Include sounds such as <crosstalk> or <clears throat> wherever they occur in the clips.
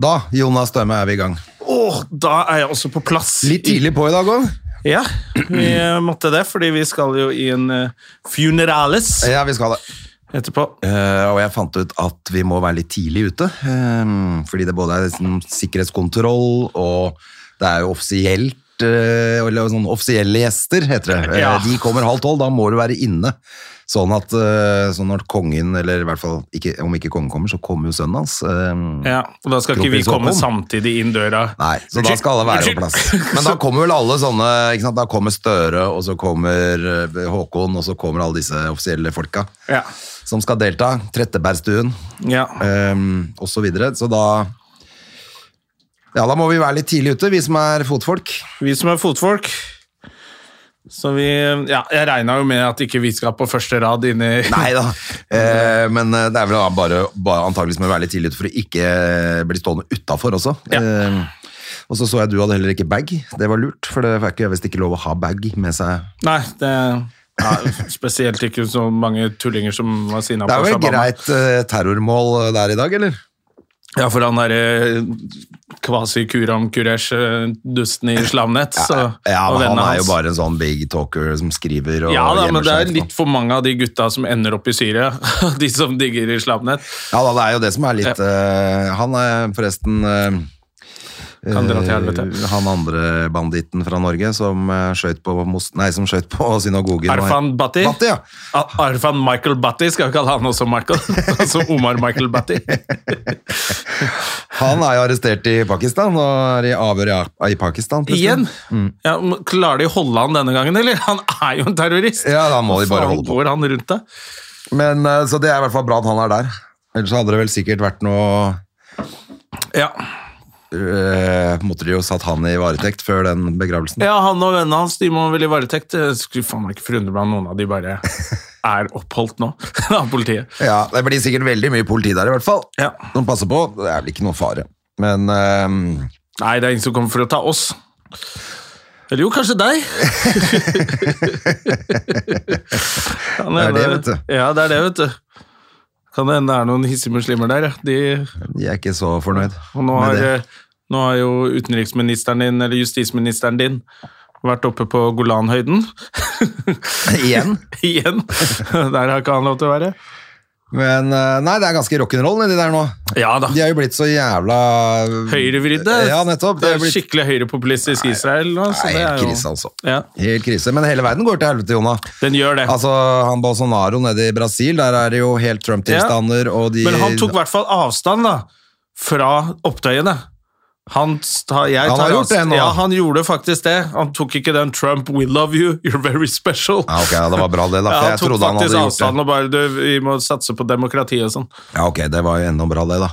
Da, Jonas Støme, er vi i gang. Åh, da er jeg også på plass. Litt tidlig på i dag òg. Ja, vi eh, måtte det, fordi vi skal jo i en eh, funerales Ja, vi skal det. etterpå. Eh, og jeg fant ut at vi må være litt tidlig ute, eh, fordi det både er sånn sikkerhetskontroll, og det er jo offisielt, eh, eller sånn offisielle gjester, heter det. Eh, Ja. De kommer halv tolv, da må du være inne. Sånn at eh, sånn når kongen, eller i hvert fall ikke, om ikke kongen kommer, så kommer jo sønnen hans. eh, Ja, og da skal ikke vi Kronprins komme Haakon. samtidig inn døra. Nei, så da skal alle være på plass. Men da kommer vel alle sånne ikke sant? Da kommer Støre, og så kommer eh, Håkon, og så kommer alle disse offisielle folka Ja. som skal delta. Trettebergstuen, Ja. um, og så videre. Så da Ja, da må vi være litt tidlig ute, vi som er fotfolk. Vi som er fotfolk. Så vi Ja, jeg regna jo med at ikke vi skal på første rad inne i Nei da. Eh, men eh, det er vel da bare, bare antakeligvis med å være litt tidlig ute for å ikke eh, bli stående utafor også. Ja. Eh, og så så jeg du hadde heller ikke bag. Det var lurt, for det er ikke, visst ikke lov å ha bag med seg <laughs> Nei, det ja, Spesielt ikke så mange tullinger som var sinna Det på er vel et Shabana. greit eh, terrormål der i dag, eller? Ja, for han eh, derre kvasi-Kuram Kuresh-dusten i Slamnett så- Ja, og men han vennene er jo hans. bare en sånn big talker som skriver og Ja da, men gjemmer det seg er etterpå. litt for mange av de gutta som ender opp i Syria. <laughs> De som digger islamnett. sånn. Ja da, det er jo det som er litt eh, Han er forresten eh, Kan dra til helvete. eh, Han andre banditten fra Norge som uh, skjøt på, mos- nei, som skjøt på synagogen. Arfan Bhatti. Bhatti, ja. Ar- Arfan Michael Bhatti skal vi kalle han også Michael. <laughs> <laughs> altså Omar Michael Bhatti. Han er jo arrestert i Pakistan og er i avhør i, A- i Pakistan. plutselig. Igjen. Mm. Ja, men klarer de å holde han denne gangen, eller? Han er jo en terrorist. Ja, da må de bare Faen, holde på. Går han rundt det? Men, eh, så det er i hvert fall bra at han er der. Ellers hadde det vel sikkert vært noe Ja. eh, Måtte de jo satt han i varetekt før den begravelsen. ja, han og vennene hans de må vel i varetekt. Jeg Skulle faen meg ikke forundre meg om noen av de <laughs> bare er oppholdt nå <laughs> av politiet. Ja, det blir sikkert veldig mye politi der i hvert fall. Ja. De passer på, det er vel ikke noen fare. Men ehm, Nei, det er ingen som kommer for å ta oss. Eller jo, kanskje <laughs> deg. Kan Det er det, hende- vet Ja, det er det, vet du. Kan det hende det er noen hissige muslimer der, ja. De, de er ikke så fornøyd og nå har, med det. eh, nå har jo utenriksministeren din, eller justisministeren din, vært oppe på Golanhøyden. <laughs> Igjen. <laughs> Igjen. Der har ikke han lov til å være. Men eh, nei, det er ganske rock'n'roll nedi der nå. Ja da. De er jo blitt så jævla eh, Høyrevridde. Ja, nettopp. Det Det er er blitt... skikkelig høyrepopulistisk Israel nå. så Nei, det er helt jo- krise, altså. Ja, Helt krise. Men hele verden går til helvete, Jonna. den gjør det. Altså, han Bolsonaro nede i Brasil, der er det jo helt Trump-tilstander, og de Men han tok i hvert fall avstand da, fra opptøyene. Han, sta, jeg Han tar har gjort avst- det nå. Ja, han gjorde faktisk det. Han tok ikke den 'Trump, we love you, you're very special'. Ja, ok, ja, det var bra det, da. Ja, For han jeg tok trodde han hadde faktisk gjort det. avstand og bare du, 'vi må satse på demokrati' og sånn. Ja, ok, det var jo enda bra det da.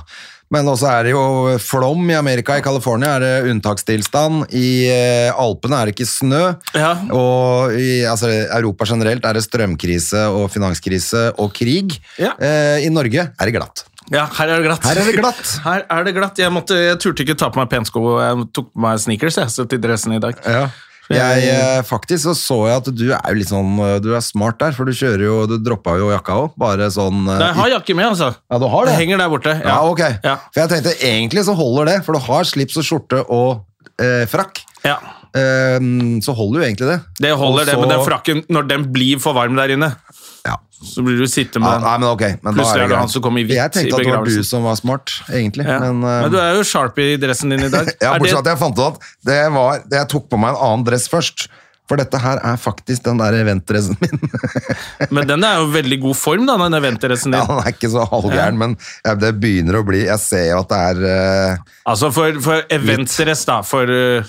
Men også er det jo flom i Amerika, i Kalifornien er det unntakstilstand, i eh, Alpene er det ikke snø, Ja. og i altså, Europa generelt er det strømkrise og finanskrise og krig. Ja. Eh, I Norge er det glatt. Ja, her er det glatt. Her er det glatt. <laughs> Her er det glatt. Jeg, måtte, jeg turte ikke ta på meg pensko, jeg tok på meg sneakers jeg, så til dressen i dag. Jeg, eh, faktisk så så jeg at du er jo litt sånn, eh, du er smart der, for du kjører jo, du droppa jo jakka også, bare sånn... eh, Nei, jeg har jakke med, altså. Ja, du har det. Det henger der borte. Ja, ok. Ja. For jeg tenkte egentlig så holder det, for du har slips og skjorte og eh, frakk. ja. Ehm, så holder jo egentlig det. Det holder, Og det. så- Men den frakken, når den blir for varm der inne, Ja. så blir du sitte med Ja, den. nei, men ok. Men Plutselig da er det greit. han som kom i hvitt Jeg i tenkte at det var begravelsen. du som var smart, egentlig. Ja. Men, Men, eh, du er jo sharp i dressen din i dag. <laughs> ja, Er det- bortsett fra at jeg fant ut at det var, det jeg tok på meg en annen dress først. For dette her er faktisk den der eventdressen min. <laughs> Men den er jo i veldig god form, da, den eventdressen din. Ja, den er ikke så halvgæren, men ja, det begynner å bli Jeg ser jo at det er eh, Altså, for, for eh, eventdress, da, for, uh,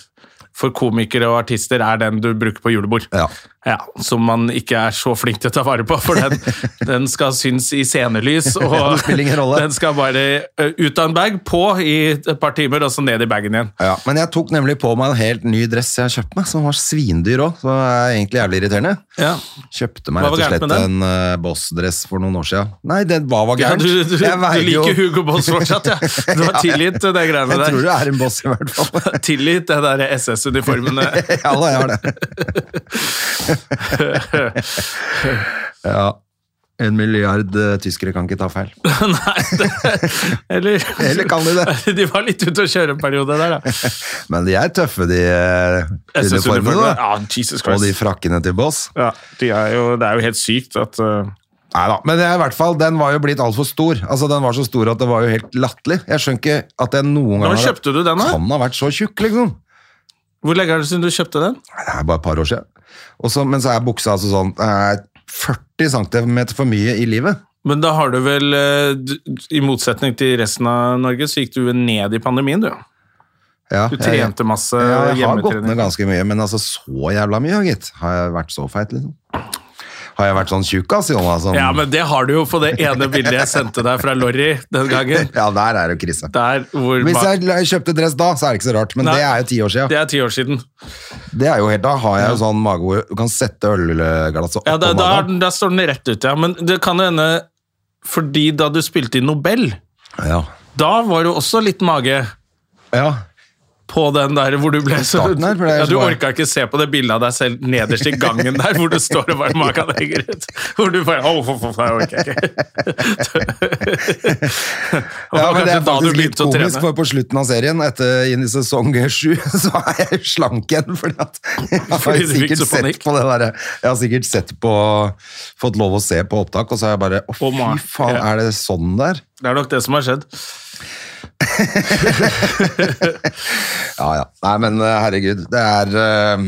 for komikere og artister, er den du bruker på julebord. Ja. Ja, Som man ikke er så flink til å ta vare på, <laughs> for den, den skal synes i scenelys. Og Ja, det spiller ingen rolle. den skal bare ø, ut av en bag, på i et par timer, og så ned i bagen igjen. Ja, men jeg tok nemlig på meg en helt ny dress jeg har kjøpt meg, som var svindyr òg. Så det er egentlig jævlig irriterende. Ja. Kjøpte meg Hva var rett og gærent med slett en eh, Boss-dress for noen år siden. Nei, det, hva var Ja, gærent? du, du, du Jeg veier liker Hugo Boss fortsatt, <laughs> ja. Du har tilgitt det greiene Jeg der. <laughs> tror du er en boss, i hvert fall. <laughs> Tillit, det der SS-uniformene. ja da, jeg har <laughs> det. ja. En milliard eh, tyskere kan ikke ta <laughs> feil. Nei, det, eller, Eller kan de det? De var litt ute å kjøre en periode der, da. Men de er tøffe, de eh, uniformene. SS-uniformene. da. Ja, Jesus Og de Christ. frakkene til boss. Ja, de er jo, det er jo helt sykt at uh, Nei da, men det er i hvert fall, den var jo blitt altfor stor. Altså, Den var så stor at det var jo helt latterlig. Jeg skjønner ikke at jeg noen gang Når kjøpte du den, da? Kan ha vært så tjukk, liksom. Hvor lenge er det siden du kjøpte den? Nei, Det er bare et par år siden. Og så- men så er buksa altså sånn eh, 40 cm for mye i livet. Men da har du vel, eh, d- i motsetning til resten av Norge, så gikk du vel ned i pandemien, du. Ja, Du jeg- trente masse Ja, jeg har gått ned hjemmetrening. ganske mye, men altså så jævla mye, gitt. Har jeg vært så feit, liksom? Har jeg vært sånn tjukkas, Jonas? Sånn, Ja, men det har du jo på det ene bildet jeg sendte deg fra Lorry den gangen. <laughs> Ja, der er det krise. Der hvor Hvis ma- jeg l- kjøpte dress da, så er det ikke så rart, men Nei. det er jo ti år siden. Det er ti år siden. Det er jo helt, da har jeg jo sånn mage hvor du kan sette ølglasset opp Ja, da, om da, er magen. den- da står den rett ut, ja. Men det kan jo hende fordi da du spilte i Nobel, Ja. da var det jo også litt mage ja. på den der hvor du ble så starten her, for det er ja, Du så bare- orka ikke se på det bildet av deg selv nederst i gangen der hvor du står og bare maga deg henger ut. Hvor du bare Å, for for faen, jeg orker ikke. Og ja, men det er det var kanskje da du faktisk litt begynte å komisk, trene. for på slutten av serien, etter inn i sesong sju, <laughs> så er jeg slank igjen, fordi at <laughs> jeg har Fordi du fikk sikkert så panikk. sett på det der, jeg har sikkert sett på, fått lov å se på opptak, og så har jeg bare, å Å, ma- fy faen, ja. er det sånn der? Det er nok det som har skjedd. Ja, ja. Nei, men eh, herregud, det er... eh,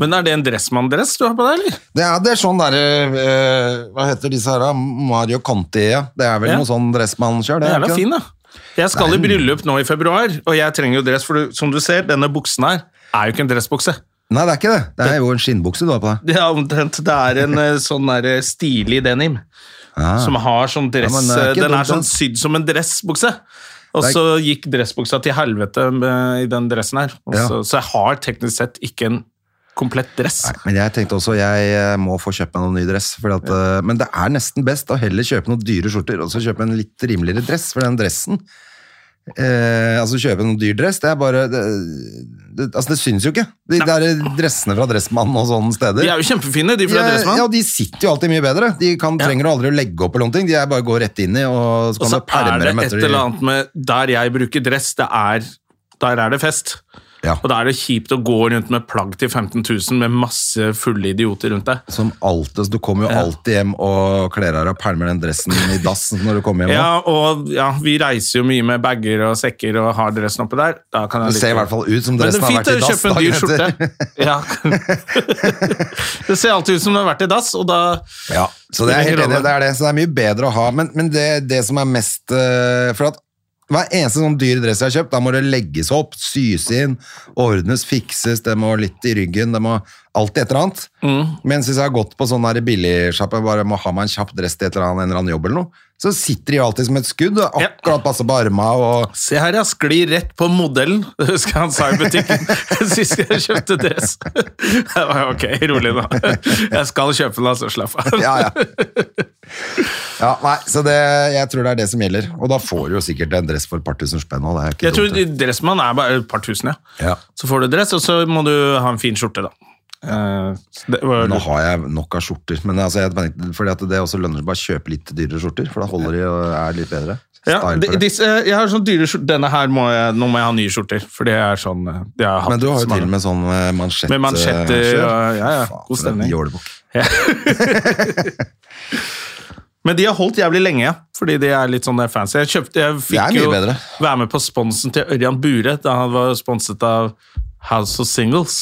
Men er det en dressmann-dress du har på deg, eller? Det er, det er sånn der, eh, hva heter disse her da? Mario Conti, ja. Det er vel Ja. noe sånn dressmann selv, Den det er er jævla ikke det? fin, da. Jeg skal i bryllup nå i februar, og jeg trenger jo dress, for du, som du ser, denne buksen her er jo ikke en dressbukse. Nei, det er ikke det. Det er jo en skinnbukse du har på deg. Det er omtrent Det er en eh, sånn der eh, stilig denim Ja. som har sånn dress Ah. Ja, men det er eh, ikke Den dumt, er sånn da. sydd som en dressbukse. Og Det er så gikk dressbuksa til helvete med, i den dressen her. Og Ja. Så, så jeg har teknisk sett ikke en komplett dress. Nei, men jeg tenkte også jeg eh, må få kjøpt meg noen ny dress. fordi at, eh, Men det er nesten best å heller kjøpe noen dyre skjorter og så kjøpe en litt rimeligere dress. For den dressen eh, Altså kjøpe noen dyr dress, det er bare Det, det, altså, det syns jo ikke. De der dressene fra Dressmannen og sånne steder. De er jo kjempefine, de fra Ja, Dressmann. ja, de sitter jo alltid mye bedre. De kan, trenger du aldri å legge opp eller noen ting. De er bare går rett inn i, og så Og kan så du pælme er dem det et etter de- eller annet med Der jeg bruker dress, det er Der er det fest. Ja. Og da er det kjipt å gå rundt med plagg til 15 000 med masse fulle idioter rundt deg. Som alltid, så Du kommer jo alltid hjem og kler av deg og pælmer den dressen i dass når du kommer hjem. nå. Ja, og ja, vi reiser jo mye med bager og sekker og har dressen oppi der. Da kan jeg Det ser i hvert fall ut som Men det dressen er har fint vært å i dass. kjøpe en dyr dagen etter. skjorte. Ja. <laughs> <laughs> det ser alltid ut som det har vært i dass, og da Ja, så det er helt enig, det er det. Så det er mye bedre å ha. Men, men det, det som er mest eh, For at hver eneste sånn dyr dress jeg har kjøpt, da må det legges opp, sys inn, ordnes, fikses, det må litt i ryggen, det må alltid et eller annet. Mm. Mens hvis jeg har gått på sånn der billigsjappe, bare må ha meg en kjapp dress til et eller annet, en eller annen jobb eller noe, så sitter de jo alltid som et skudd, og Ja. akkurat passe på arma og Se her, ja. Sklir rett på modellen. <laughs> Det husker jeg han sa i butikken <laughs> sist jeg kjøpte dress. <laughs> Jeg var ok, rolig nå. <laughs> Jeg skal kjøpe den, altså. Slapp av. Ja, ja. <laughs> Ja, nei, så det, jeg tror det er det som gjelder. Og da får du jo sikkert en dress for et par tusen spenn. Og det er ikke Jeg tror dumt, det. Dressmann er bare et par tusen, ja. Ja. Så får du dress, og så må du ha en fin skjorte, da. Eh, så det var, Nå har jeg nok av skjorter, men altså, jeg tenkte, fordi at det også lønner seg bare å kjøpe litt dyrere skjorter, for da holder de og er litt bedre. ja, Style de- på det. disse, jeg har sånn dyre skjorter. Denne her må jeg, nå må jeg ha nye skjorter, for det er sånn eh, det jeg har hatt. men du har jo til så og mange- med sånn eh, mansjett. Med mansjetter eh, selv. og- ja, ja, Faen, god for en stemning. jålebukk. <laughs> Men de har holdt jævlig lenge, ja. fordi de er litt sånn eh, fancy. Jeg, kjøpte, jeg er fikk mye jo bedre. være med på sponsen til Ørjan Bure da han var sponset av House of Singles.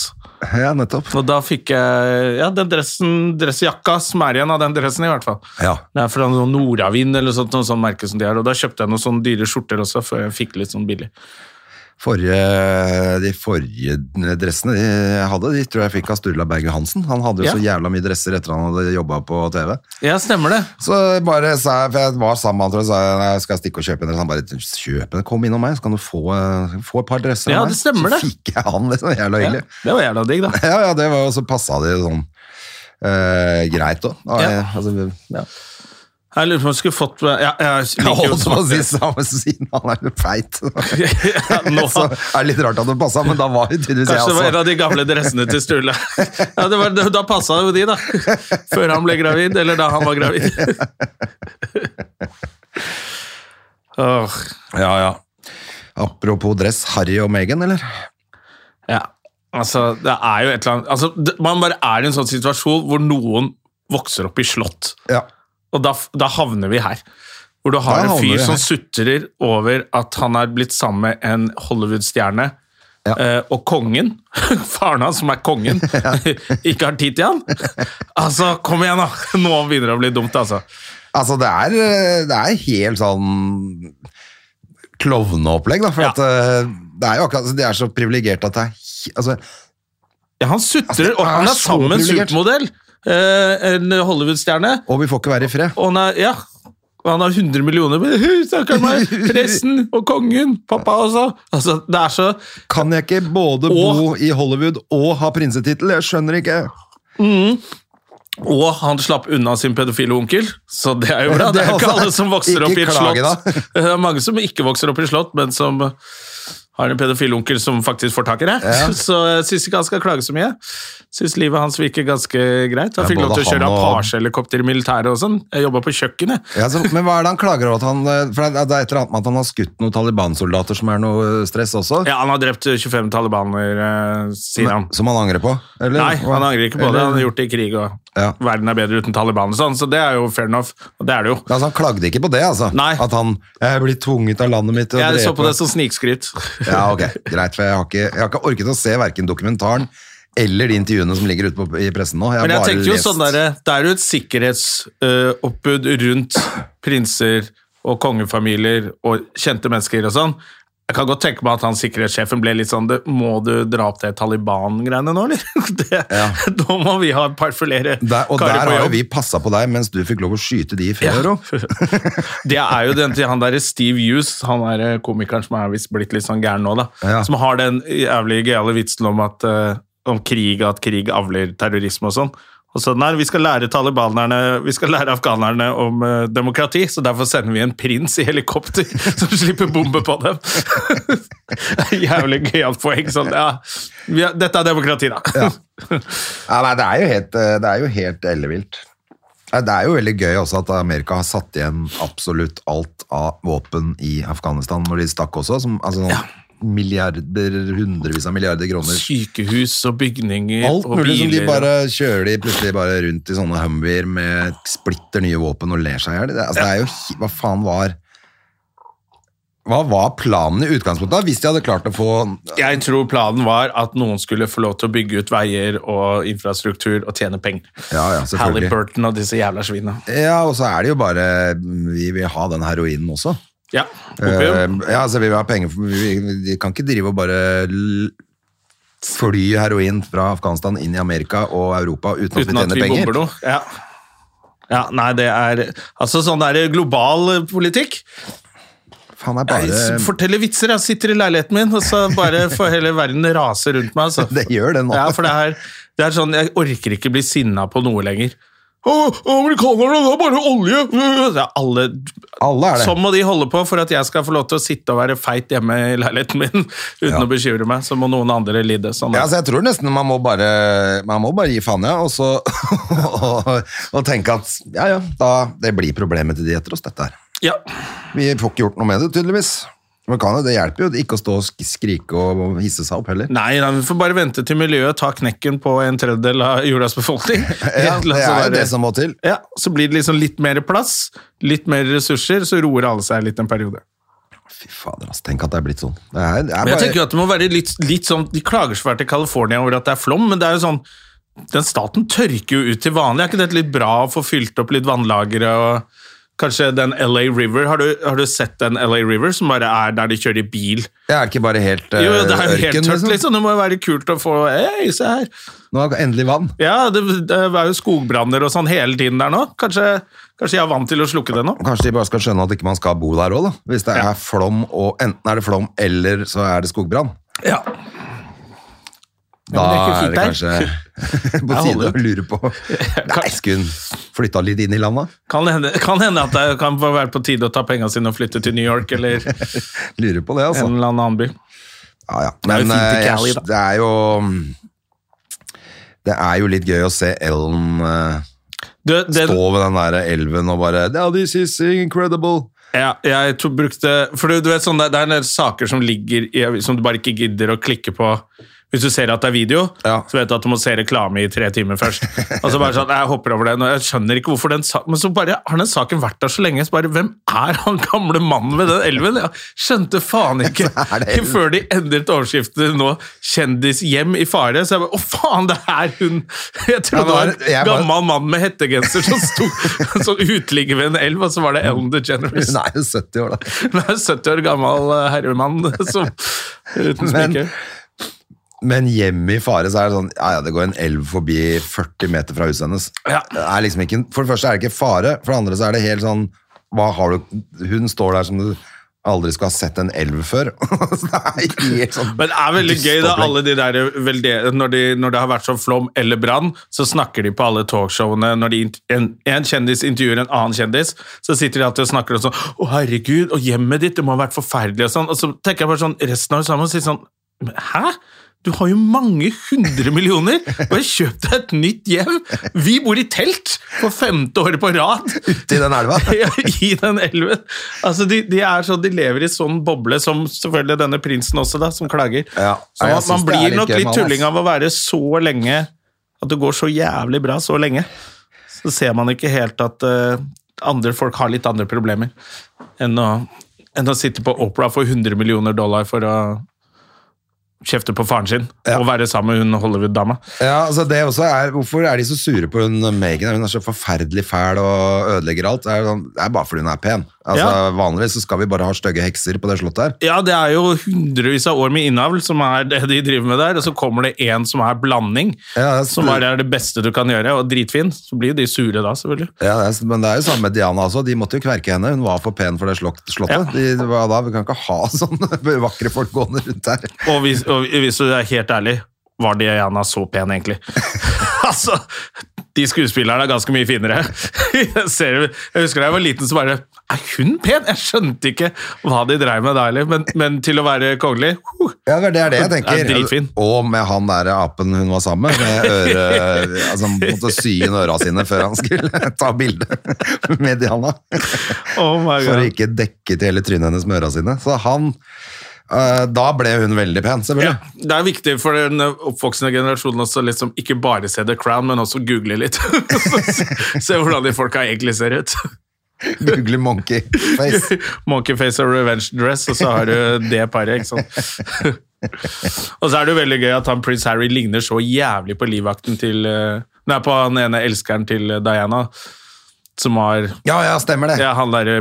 Ja, nettopp. Og da fikk jeg ja, den dressen, dressjakka som er igjen av den dressen, i hvert fall. Ja. Det er fra noe Nordavind eller sånt, noe sånt merke som de har. Og da kjøpte jeg noen sånne dyre skjorter også, før jeg fikk litt sånn billig. forrige, de forrige dressene de jeg hadde, de tror jeg fikk av Sturla Berge Hansen. Han hadde jo Ja. så jævla mye dresser etter han hadde jobba på TV. Ja, stemmer det. Så bare sa jeg, for jeg var sammen med han, tror jeg, sa jeg, «Nei, skal jeg stikke og kjøpe en dress? Han bare, kjøp en, kom innom meg, så kan du få, eh, få et par dresser av Ja, meg.» det stemmer Så det. fikk jeg han, liksom, jævla Ja, hyggelig. det var jævla digg, da. Ja, ja, det var jo så passa det sånn eh, greit da. Da er Ja. jeg- Altså, <laughs> ja. Jeg lurer på om jeg skulle fått ja, jeg Jeg liker jo holdt på å si samme siden, han er jo feit. <laughs> <laughs> ja, nå, Så er det litt rart at det passa, men da var det tydeligvis jeg Kanskje det var en også. av de gamle dressene til Sturle. Ja, det var, da passa jo de, da. Før han ble gravid, eller da han var gravid. <laughs> Åh, Ja, ja. Apropos dress, Harry og Meghan, eller? ja. Altså, det er jo et eller annet altså, det- Man bare er i en sånn situasjon hvor noen vokser opp i slott. Ja. Og da, da havner vi her. Hvor du har Da en havner fyr vi som her. sutrer over at han er blitt sammen med en Hollywood-stjerne. Ja. eh, og kongen, <laughs> faren hans som er <laughs> kongen, <laughs> ikke har tid til han. Altså, kom igjen, da! <laughs> Nå begynner det å bli dumt, altså. Altså, det er, eh, det er helt sånn klovneopplegg, da. For Ja. at, eh, det er jo akkurat, altså, de er så privilegerte at det er he- altså, Ja, han sutrer, Altså, og han han er er sammen med en så privilegert. supermodell! eh, en Hollywood-stjerne. Og vi får ikke være i fred. Og han er, ja, og han har 100 millioner men, <laughs> <laughs> Stakkar meg! Presten og kongen! Pappa også! Altså, det er så Kan jeg ikke både bo i Hollywood og ha prinsetittel? Jeg skjønner ikke. Og han slapp unna sin pedofile onkel, så det er <laughs> jo bra. Det Det er er jo ikke altså- alle som vokser ikke opp i et klage, slott. <laughs> Det er mange som ikke vokser opp i slott, men som har en pedofil onkel som faktisk får tak i det. <laughs> Så jeg syns ikke han skal klage så mye. Syns livet hans virker ganske greit. Han Ja, fikk lov både til å kjøre han og- Apache-helikopter i militæret og sånn. Jeg jobba på kjøkkenet. Ja, så, men hva er det han klager over? At han, eh, for det er- det er et eller annet med at han har skutt noen Taliban-soldater som er noe eh, stress også? Ja, han har drept 25 talibaner, eh, sier han. Som han angrer på? Eller? Nei, Hva? han angrer ikke på det. Eller- Han har gjort det i krig, og Ja. verden er bedre uten Taliban og sånn, så det er jo fair enough. Og det er det jo. Altså, han klagde ikke på det, altså? Nei. At han jeg blir tvunget av landet mitt til å Jeg så drepe på det som snikskryt. Ja, ok, greit, for jeg har ikke, jeg har ikke orket å se verken dokumentaren eller de intervjuene som ligger ute på, i pressen nå. Jeg har Men jeg bare tenker jo lest. sånn der, Det er jo et sikkerhetsoppbud øh, rundt prinser og kongefamilier og kjente mennesker og sånn. Jeg kan godt tenke meg at han sikkerhetssjefen ble litt sånn "Det- Må du dra opp det Taliban-greiene nå, eller? <laughs> Det, Ja. Da må vi ha et par flere der, og der karer har på jo jobb. vi passa på deg mens du fikk lov å skyte de i februar. <laughs> Det er jo den til han derre Steve Hughes, han er komikeren som er visst blitt litt sånn gæren nå, da. Ja. Som har den jævlig gøyale vitsen om at eh, om krig, at krig avler terrorisme og sånn. Og så, nei, Vi skal lære talibanerne, vi skal lære afghanerne om eh, demokrati, så derfor sender vi en prins i helikopter <laughs> som slipper bombe på dem. <laughs> Det er Jævlig gøyalt poeng. Sånn, ja. Vi er- Dette er demokrati, da. Ja, nei, det er jo helt, eh, det er jo helt ellevilt. Nei, Det er jo veldig gøy også at Amerika har satt igjen absolutt alt av våpen i Afghanistan når de stakk også. Som, altså, sånn milliarder, hundrevis av milliarder kroner. <laughs> Sykehus og bygninger Alt og mulig som de biler. bare kjører de plutselig bare rundt i sånne Humveer med splitter nye våpen og ler seg i hjel. Det, altså, det er jo hi- Hva faen var Hva var planen i utgangspunktet? da, Hvis de hadde klart å få Jeg tror planen var at noen skulle få lov til å bygge ut veier og infrastruktur og tjene penger. Ja, ja, selvfølgelig. Halliburton og disse jævla svina. Ja, og så er det jo bare Vi vil ha den heroinen også. Ja, Eh, opium. ja, altså vi vil ha penger for- vi, vi, De kan ikke drive og bare l- fly heroin fra Afghanistan inn i Amerika og Europa uten at Uten at vi vi tjener penger. bomber noe. Ja. ja, nei, det er Altså, sånn er det global eh, politikk. Faen, det Jeg er bare forteller vitser. Jeg sitter i leiligheten min, og så bare får hele verden rase rundt meg. Altså. <laughs> Det gjør det nå. Ja, for det er, det er sånn, jeg orker ikke bli sinna på noe lenger. Å, Amerikanerne, det er bare olje! <laughs> Det er alle, Alle er det. Sånn må de holde på for at jeg skal få lov til å sitte og være feit hjemme i leiligheten min <laughs> uten Ja. å bekymre meg. Så må noen andre lide. Sånn, Ja, er det. altså jeg tror nesten man må bare, man må bare gi faen, ja, og så <laughs> og, og tenke at ja, ja, da, det blir problemet til de etter oss, dette her. ja. Vi får ikke gjort noe med det, tydeligvis. Men kan jo, det hjelper jo ikke å stå og sk- skrike og hisse seg opp heller. Nei, nei, vi får bare vente til miljøet tar knekken på en tredjedel av jordas <laughs> befolkning. Ja, det Så er bare- jo det som må til. ja, så blir det liksom litt mer plass, litt mer ressurser, så roer alle seg litt en periode. Fy fader, altså, tenk at det er blitt sånn. Det er, det er Men jeg bare, tenker jo at det må være litt, litt sånn, De klager så fælt til California over at det er flom, men det er jo sånn den staten tørker jo ut til vanlig. Er ikke det litt bra å få fylt opp litt vannlagre og Kanskje den LA River. Har du, har du sett den LA River som bare er der de kjører i bil? Jeg er ikke bare helt eh, Jo, jo, det er jo helt ørken, tørt, liksom. liksom. Det må jo være kult å få Hei, se her! Nå er det endelig vann. Ja, det, det er jo skogbranner og sånn hele tiden der nå. Kanskje, kanskje jeg er vant til å slukke det nå? Kanskje de bare skal skjønne at ikke man skal bo der òg, da. Hvis det er flom, og enten er det flom eller så er det skogbrann. Ja. Da Ja, er men det det er ikke kanskje <laughs> på Jeg holder tide å lure på Nei, skulle hun flytta litt inn i landet? Kan hende, kan hende at det kan få være på tide å ta penga sine og flytte til New York <laughs> eller en Lurer på det, altså. eller annen by. Ja, ja. Men er jo fint i eh, Cali, jeg, da. det er jo Det er jo litt gøy å se Ellen eh, Du, det, stå ved den der elven og bare Yeah, this is incredible. ja, jeg to, brukte For du, du vet sånn, det, det er en del saker som ligger i avis- som du bare ikke gidder å klikke på. Hvis du ser at det er video, Ja. så vet du at du må se reklame i tre timer først. Og så bare sånn, Jeg hopper over den, og jeg skjønner ikke hvorfor den sa- Men så bare har den saken vært der så lenge. så bare, Hvem er han gamle mannen ved den elven? Jeg skjønte faen ikke. <laughs> Så er det Ikke før de endret overskriften nå 'Kjendishjem i fare'. Så jeg bare Å, faen, det er hun! Jeg trodde Ja, men det var jeg en bare- gammel mann med hettegenser som sto <laughs> som uteligger ved en elv, og så var det Ellen DeGeneres. Hun er jo 70 år, da. Hun er en 70 år gammel eh, herremann <laughs> som, uten Men- smykke. Men hjemme i fare så er det sånn Ja, ja, det går en elv forbi 40 meter fra huset hennes. Ja. Det er liksom ikke, for det første er det ikke fare, for det andre så er det helt sånn hva har du, Hun står der som du aldri skal ha sett en elv før. <laughs> så det er helt sånn Men det er veldig gøy da, dystopplegg. alle de der velde- når, de, når det har vært sånn flom eller brann, så snakker de på alle talkshowene. Når de, int- en, en kjendis intervjuer en annen kjendis, så sitter de alltid og snakker om sånn Å, herregud, og hjemmet ditt, det må ha vært forferdelig, og sånn. Og så tenker jeg bare sånn Resten av oss sammen sier sånn «Men Hæ? Du har jo mange hundre millioner! Bare kjøp deg et nytt hjem! Vi bor i telt for femte året på rad! Til den elva. <laughs> <laughs> Ja, I den elven. Altså, de, de, er så, de lever i sånn boble, som selvfølgelig denne prinsen også, da, som klager. Ja, så jeg man, synes man det er blir litt nok gøy, litt man, ass. tulling av å være så lenge At det går så jævlig bra så lenge. Så ser man ikke helt at eh, andre folk har litt andre problemer enn å, enn å sitte på Opera for 100 millioner dollar for å kjefte på faren sin og være sammen med hun Hollywood-dama. Ja, altså det også er, Hvorfor er de så sure på hun Megan? Hun er så forferdelig fæl og ødelegger alt. Det er, jo sånn, det er bare fordi hun er pen. Altså, Ja. Vanligvis så skal vi bare ha stygge hekser på det slottet her. Ja, det er jo hundrevis av år med innavl som er det de driver med der, og så kommer det en som er blanding, Ja, det er- som bare er det beste du kan gjøre, og dritfin. Så blir jo de sure da, selvfølgelig. Ja, det er, men det er jo samme med Diana også. De måtte jo kverke henne. Hun var for pen for det slott, slottet. Ja. De, det var da, vi kan ikke ha <laughs> sånne vakre folk gående rundt her. Og hvis, og hvis du er helt ærlig, var Diana så pen egentlig? <laughs> altså, de skuespillerne er ganske mye finere. jeg, ser, jeg husker da jeg var liten så bare, er hun pen? Jeg skjønte ikke hva de drev med der, eller? men, men til å være kongelig, huh, Ja, det er det jeg Ja, tenker. dritfin. Og med han der apen hun var sammen med, med øre, <laughs> altså, han måtte sy inn øra sine før han skulle <laughs> ta bilde med Diana. oh my For å god. ikke dekke til hele trynet hennes med øra sine. Så han eh, Da ble hun veldig pen, Ja, selvfølgelig. det er viktig for den oppvoksende generasjonen også liksom ikke bare se The Crown, men også google litt. <laughs> se hvordan de folka egentlig ser ut. <laughs> Google monkey <laughs> face. Monkeyface og revenge dress, og så har du det paret, ikke sant. <laughs> og så er det jo veldig gøy at han prins Harry ligner så jævlig på livvakten til eh, Nei, på han ene elskeren til eh, Diana, som var Ja, ja, stemmer det. ja, han derre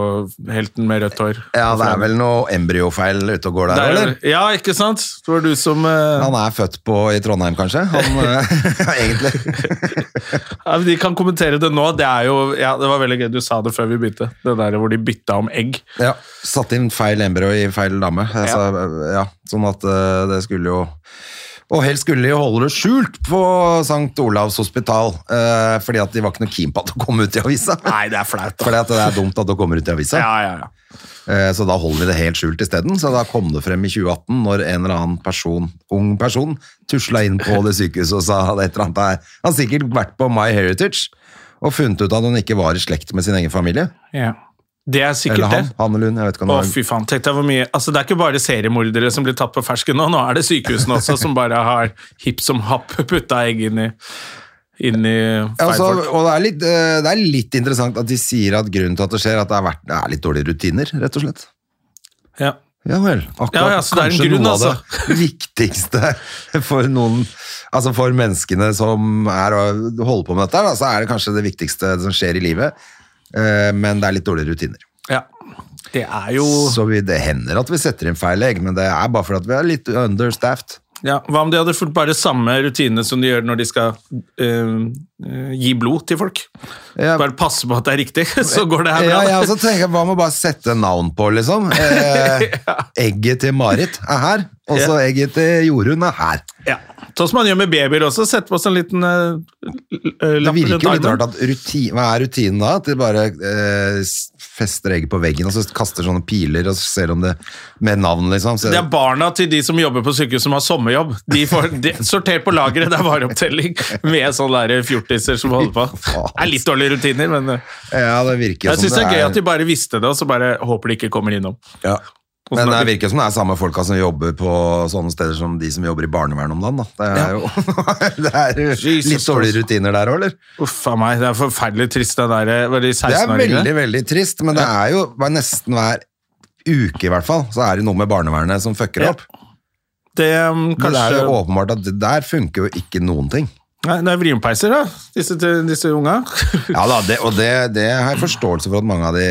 polohelten med rødt hår. Ja, det er vel noe embryofeil ute og går Det der, er- eller? Ja, ikke sant? Det var du som eh, Han er født på i Trondheim, kanskje? <laughs> Han, eh, <laughs> egentlig. Ja, men de kan kommentere det nå. Det, er jo, ja, det var veldig gøy. Du sa det før vi begynte. Det der hvor de bytta om egg. Ja, satt inn feil embryo i feil dame. Altså, ja, sånn at eh, det skulle jo Og helst skulle de jo holde det skjult på St. Olavs hospital, eh, fordi at de var ikke noe keen på at det kom ut i avisa. Nei, det er flaut. Fordi at det er dumt at det kommer ut i avisa. Ja, ja, ja. Eh, Så da holder vi det helt skjult isteden. Så da kom det frem i 2018 når en eller annen person, ung person tusla inn på det sykehuset og sa at et eller annet der. Han har sikkert vært på My Heritage og funnet ut at hun ikke var i slekt med sin egen familie. ja. Det er sikkert Eller han. det. Han eller hun. Jeg vet ikke om Å, det var fy faen. Tenk deg hvor mye Altså, det er ikke bare seriemordere som blir tatt på fersken nå. Nå er det sykehusene også som bare har hipp som happ putta egg inn i, inn i Ja, feil altså, folk. og det er, litt, eh, det er litt interessant at de sier at grunnen til at det skjer, at det, har vært, det er litt dårlige rutiner, rett og slett. Ja. Ja vel. Akkurat, Ja, ja, så det er en kanskje grunn, altså. noe av det <laughs> viktigste for noen Altså for menneskene som er og holder på med dette, her, da, så er det kanskje det viktigste som skjer i livet. Eh, Men det er litt dårlige rutiner. Ja. Det er jo Så vi, det hender at vi setter inn feil egg, men det er bare fordi at vi er litt understaffed. ja, Hva om de hadde fulgt bare samme rutinene som de gjør når de skal eh, eh, gi blod til folk? Ja. Bare passe på at det er riktig, <laughs> så går det her bra. Ja, altså- jeg også tenker, Hva med å bare sette navn på, <laughs> liksom? Eh, egget til Marit er her, og så egget til Jorunn er her. Ja. Sånn som man gjør med babyer også. Sette på oss en liten eh, l- Det lapp virker jo litt rart armen. at rutin, Hva er rutinen da? At de bare eh, s- fester egget på veggen og så kaster sånne piler og så ser om det med navn, liksom. Så, Det er barna til de som jobber på sykehus som har sommerjobb. De får de, sortert på lageret, det er vareopptelling med sånne der fjortiser som holder på. Det er litt dårlige rutiner, men eh, ja, sånn det virker jeg som syns det er gøy at de bare visste det, og så bare håper de ikke kommer innom. ja. Og så Men det er det- virker som det er samme folka som jobber på sånne steder som de som jobber i barnevernet om dagen. Da. Det er jo <laughs> det er jo Jesus litt dårlige Christ. rutiner der òg, eller? Uff a meg, det er forferdelig trist, det der. Var de Det er 16-åringene? veldig, veldig trist, men det er jo bare nesten hver uke i hvert fall, så er det noe med barnevernet som fucker Ja, opp. Det, um, Men Det er jo kanskje åpenbart at det der funker jo ikke noen ting. Nei, det er vrimpeiser, da, disse, disse unga. Ja da, det, og det, det har jeg forståelse for at mange av, de,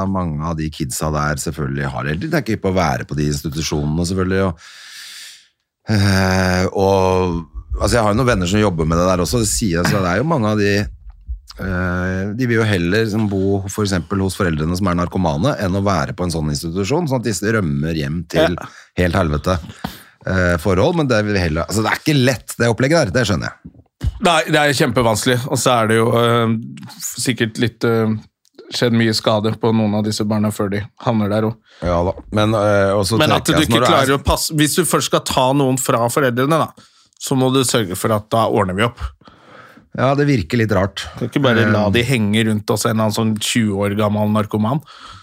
av mange av de kidsa der selvfølgelig har helt tenker på å være på de institusjonene selvfølgelig. Og, eh, og altså jeg har jo noen venner som jobber med det der også, det sier jeg, så det er jo mange av de eh, de vil jo heller som bo for eksempel hos foreldrene som er narkomane, enn å være på en sånn institusjon, sånn at de rømmer hjem til Ja. helt helvete eh, forhold, men det, vil heller, altså det er ikke lett det opplegget der, det skjønner jeg. <laughs> Nei, det er kjempevanskelig, og så er det jo øh, sikkert litt øh, skjedd mye skade på noen av disse barna før de havner der òg. Ja da, men, eh, og så Men at tenker du jeg, ikke når det er- klarer å passe Hvis du først skal ta noen fra foreldrene, da, så må du sørge for at da ordner vi opp. Ja, det virker litt rart. Du kan ikke bare la de henge rundt oss en eller annen sånn 20 år gammel narkoman.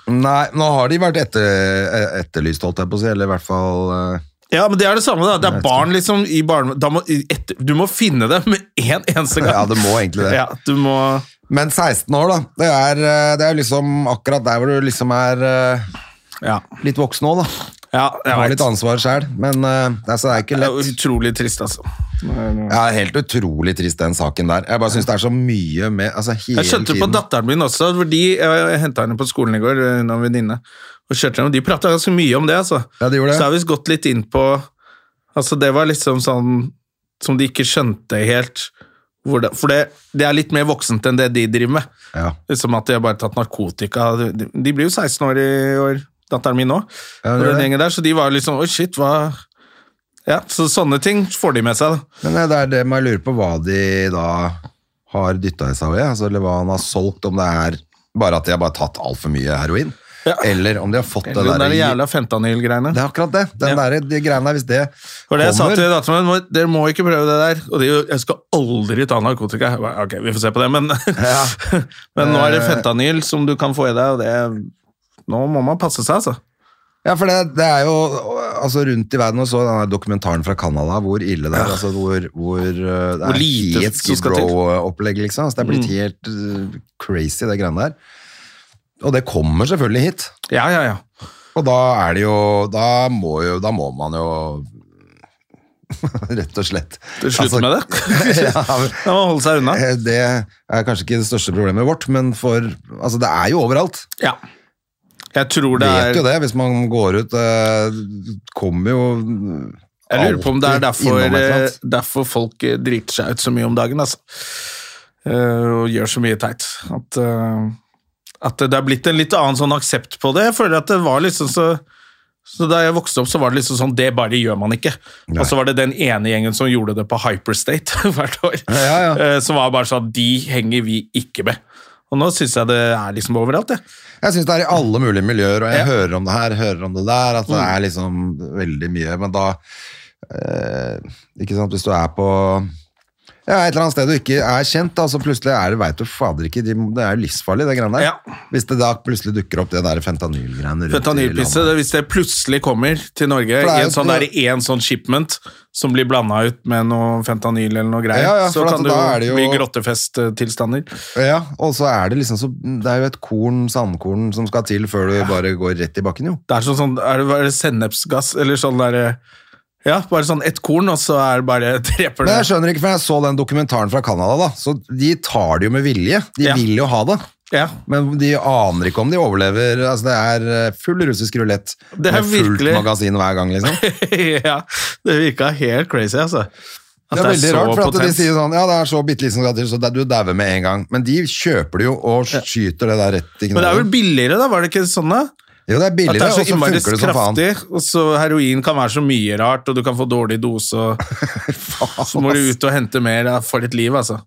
Nei, nå har de vært etter, eh, etterlyst, holdt jeg på å si, eller i hvert fall eh, Ja, men det er det samme, da. Det er barn liksom i barne... Da må, i- etter, du må finne dem med en eneste gang. Ja, det må egentlig det. <laughs> Ja, du må Men 16 år, da. Det er, eh, det er liksom akkurat der hvor du liksom er eh, Ja. litt voksen òg, da. ja jeg Har vet. litt ansvar sjøl, men eh, det, er- så det er ikke Det er lett. jo utrolig trist, altså. Jeg er helt utrolig trist, den saken der. Jeg bare syns det er så mye med altså, hele Jeg skjønte på tiden. datteren min også, fordi jeg henta henne på skolen i går, hun og en venninne, og kjørte henne. De prata ganske mye om det, altså. Ja, de gjorde det. Så har vi gått litt inn på Altså, det var liksom sånn som de ikke skjønte helt hvor det, For det, det er litt mer voksent enn det de driver med. Ja. Liksom at de har bare tatt narkotika. De, de blir jo 16 år i år, datteren min nå, Ja, og det er den det. gjengen der, så de var liksom Oi, shit, hva Ja, så sånne ting får de med seg, da. Men eh, det er det man lurer på hva de da har dytta i seg ved, altså, eller hva han har solgt, om det er bare at de har bare tatt altfor mye heroin, Ja. eller om de har fått Eller det den der der jævla fentanyl-greiene. Det er akkurat det. Den Ja. der, de greiene der, hvis det, For det jeg sa kommer til datteren min, «Må- dere må ikke prøve det der. Og det er jo, jeg skal aldri ta narkotika. Jeg bare, Ok, vi får se på det, men, <laughs> men nå er Eh. det fentanyl som du kan få i deg, og det Nå må man passe seg, altså. Ja, for det, det er jo altså, rundt i verden og så den der dokumentaren fra Canada, hvor ille det er. Altså, hvor, hvor uh, det Hvor er lite helt som Skid skal til. Mm. Row-opplegg, liksom. Altså, det er blitt helt uh, crazy, det greiene der. Og det kommer selvfølgelig hit. Ja, ja, ja. Og da er det jo Da må, jo, da må man jo <laughs> Rett og slett. Slutt Altså, med det. <laughs> <laughs> ja, men- Da må man holde seg unna. Eh, Det er kanskje ikke det største problemet vårt, men for Altså, det er jo overalt. Ja. Jeg tror det vet jo er det, hvis man går ut eh, Kommer jo Jeg lurer på om det er alltid derfor, innom et eller eh, annet. derfor folk eh, driter seg ut så mye om dagen, altså. Eh, Og gjør så mye teit. At, eh, at det er blitt en litt annen sånn aksept på det. Jeg føler at det var liksom så så Da jeg vokste opp, så var det liksom sånn Det bare gjør man ikke. Og så var det den ene gjengen som gjorde det på Hyperstate <laughs> hvert år. Ja, ja. eh, Som var bare sånn De henger vi ikke med. Og nå syns jeg det er liksom overalt, jeg. Jeg syns det er i alle mulige miljøer, og jeg Ja. Mm. hører om det her, hører om det der, at det er liksom veldig mye, men da eh, Ikke sant, hvis du er på ja, Et eller annet sted du ikke er kjent, da, så plutselig er det veit du fader ikke de, Det er jo livsfarlig, det greiene der. Ja. Hvis det da plutselig dukker opp det der fentanylgreiene rundt Fentanylpisse, det- hvis det plutselig kommer til Norge For det er i jo- en sånn, der, en sånn shipment som blir blanda ut med noe fentanyl eller noe greier, Ja, ja, så for kan at det da er det jo- jo bli grottefesttilstander. Ja, og så er det liksom så Det er jo et korn, sandkorn, som skal til før du bare går rett i bakken, jo. Det er sånn, sånn er det, er det sennepsgass eller sånn derre Ja, bare sånn ett korn, og så er det bare <laughs> dreper Men jeg det. skjønner ikke, for jeg så den dokumentaren fra Canada, da. Så de tar det jo med vilje. De Ja. vil jo ha det. Ja. <laughs> Men de aner ikke om de overlever. Altså, det er eh, full russisk rulett Det er med fullt virkelig- magasin hver gang, liksom. <laughs> ja. Det virka helt crazy, altså. At Det er veldig så rart, for at de potent. sier sånn Ja, det er så bitte lite som skal til, så det- du dauer med en gang. Men de kjøper det jo og skyter det der rett i Men det er vel knallen. billigere, da? Var det ikke sånn, da? Jo, det er At det billigere, er og så så innmari funker det som faen. kraftig, og så heroin kan være så mye rart, og du kan få dårlig <laughs> dose, og så må du ut og hente mer. Ja, For et liv, altså.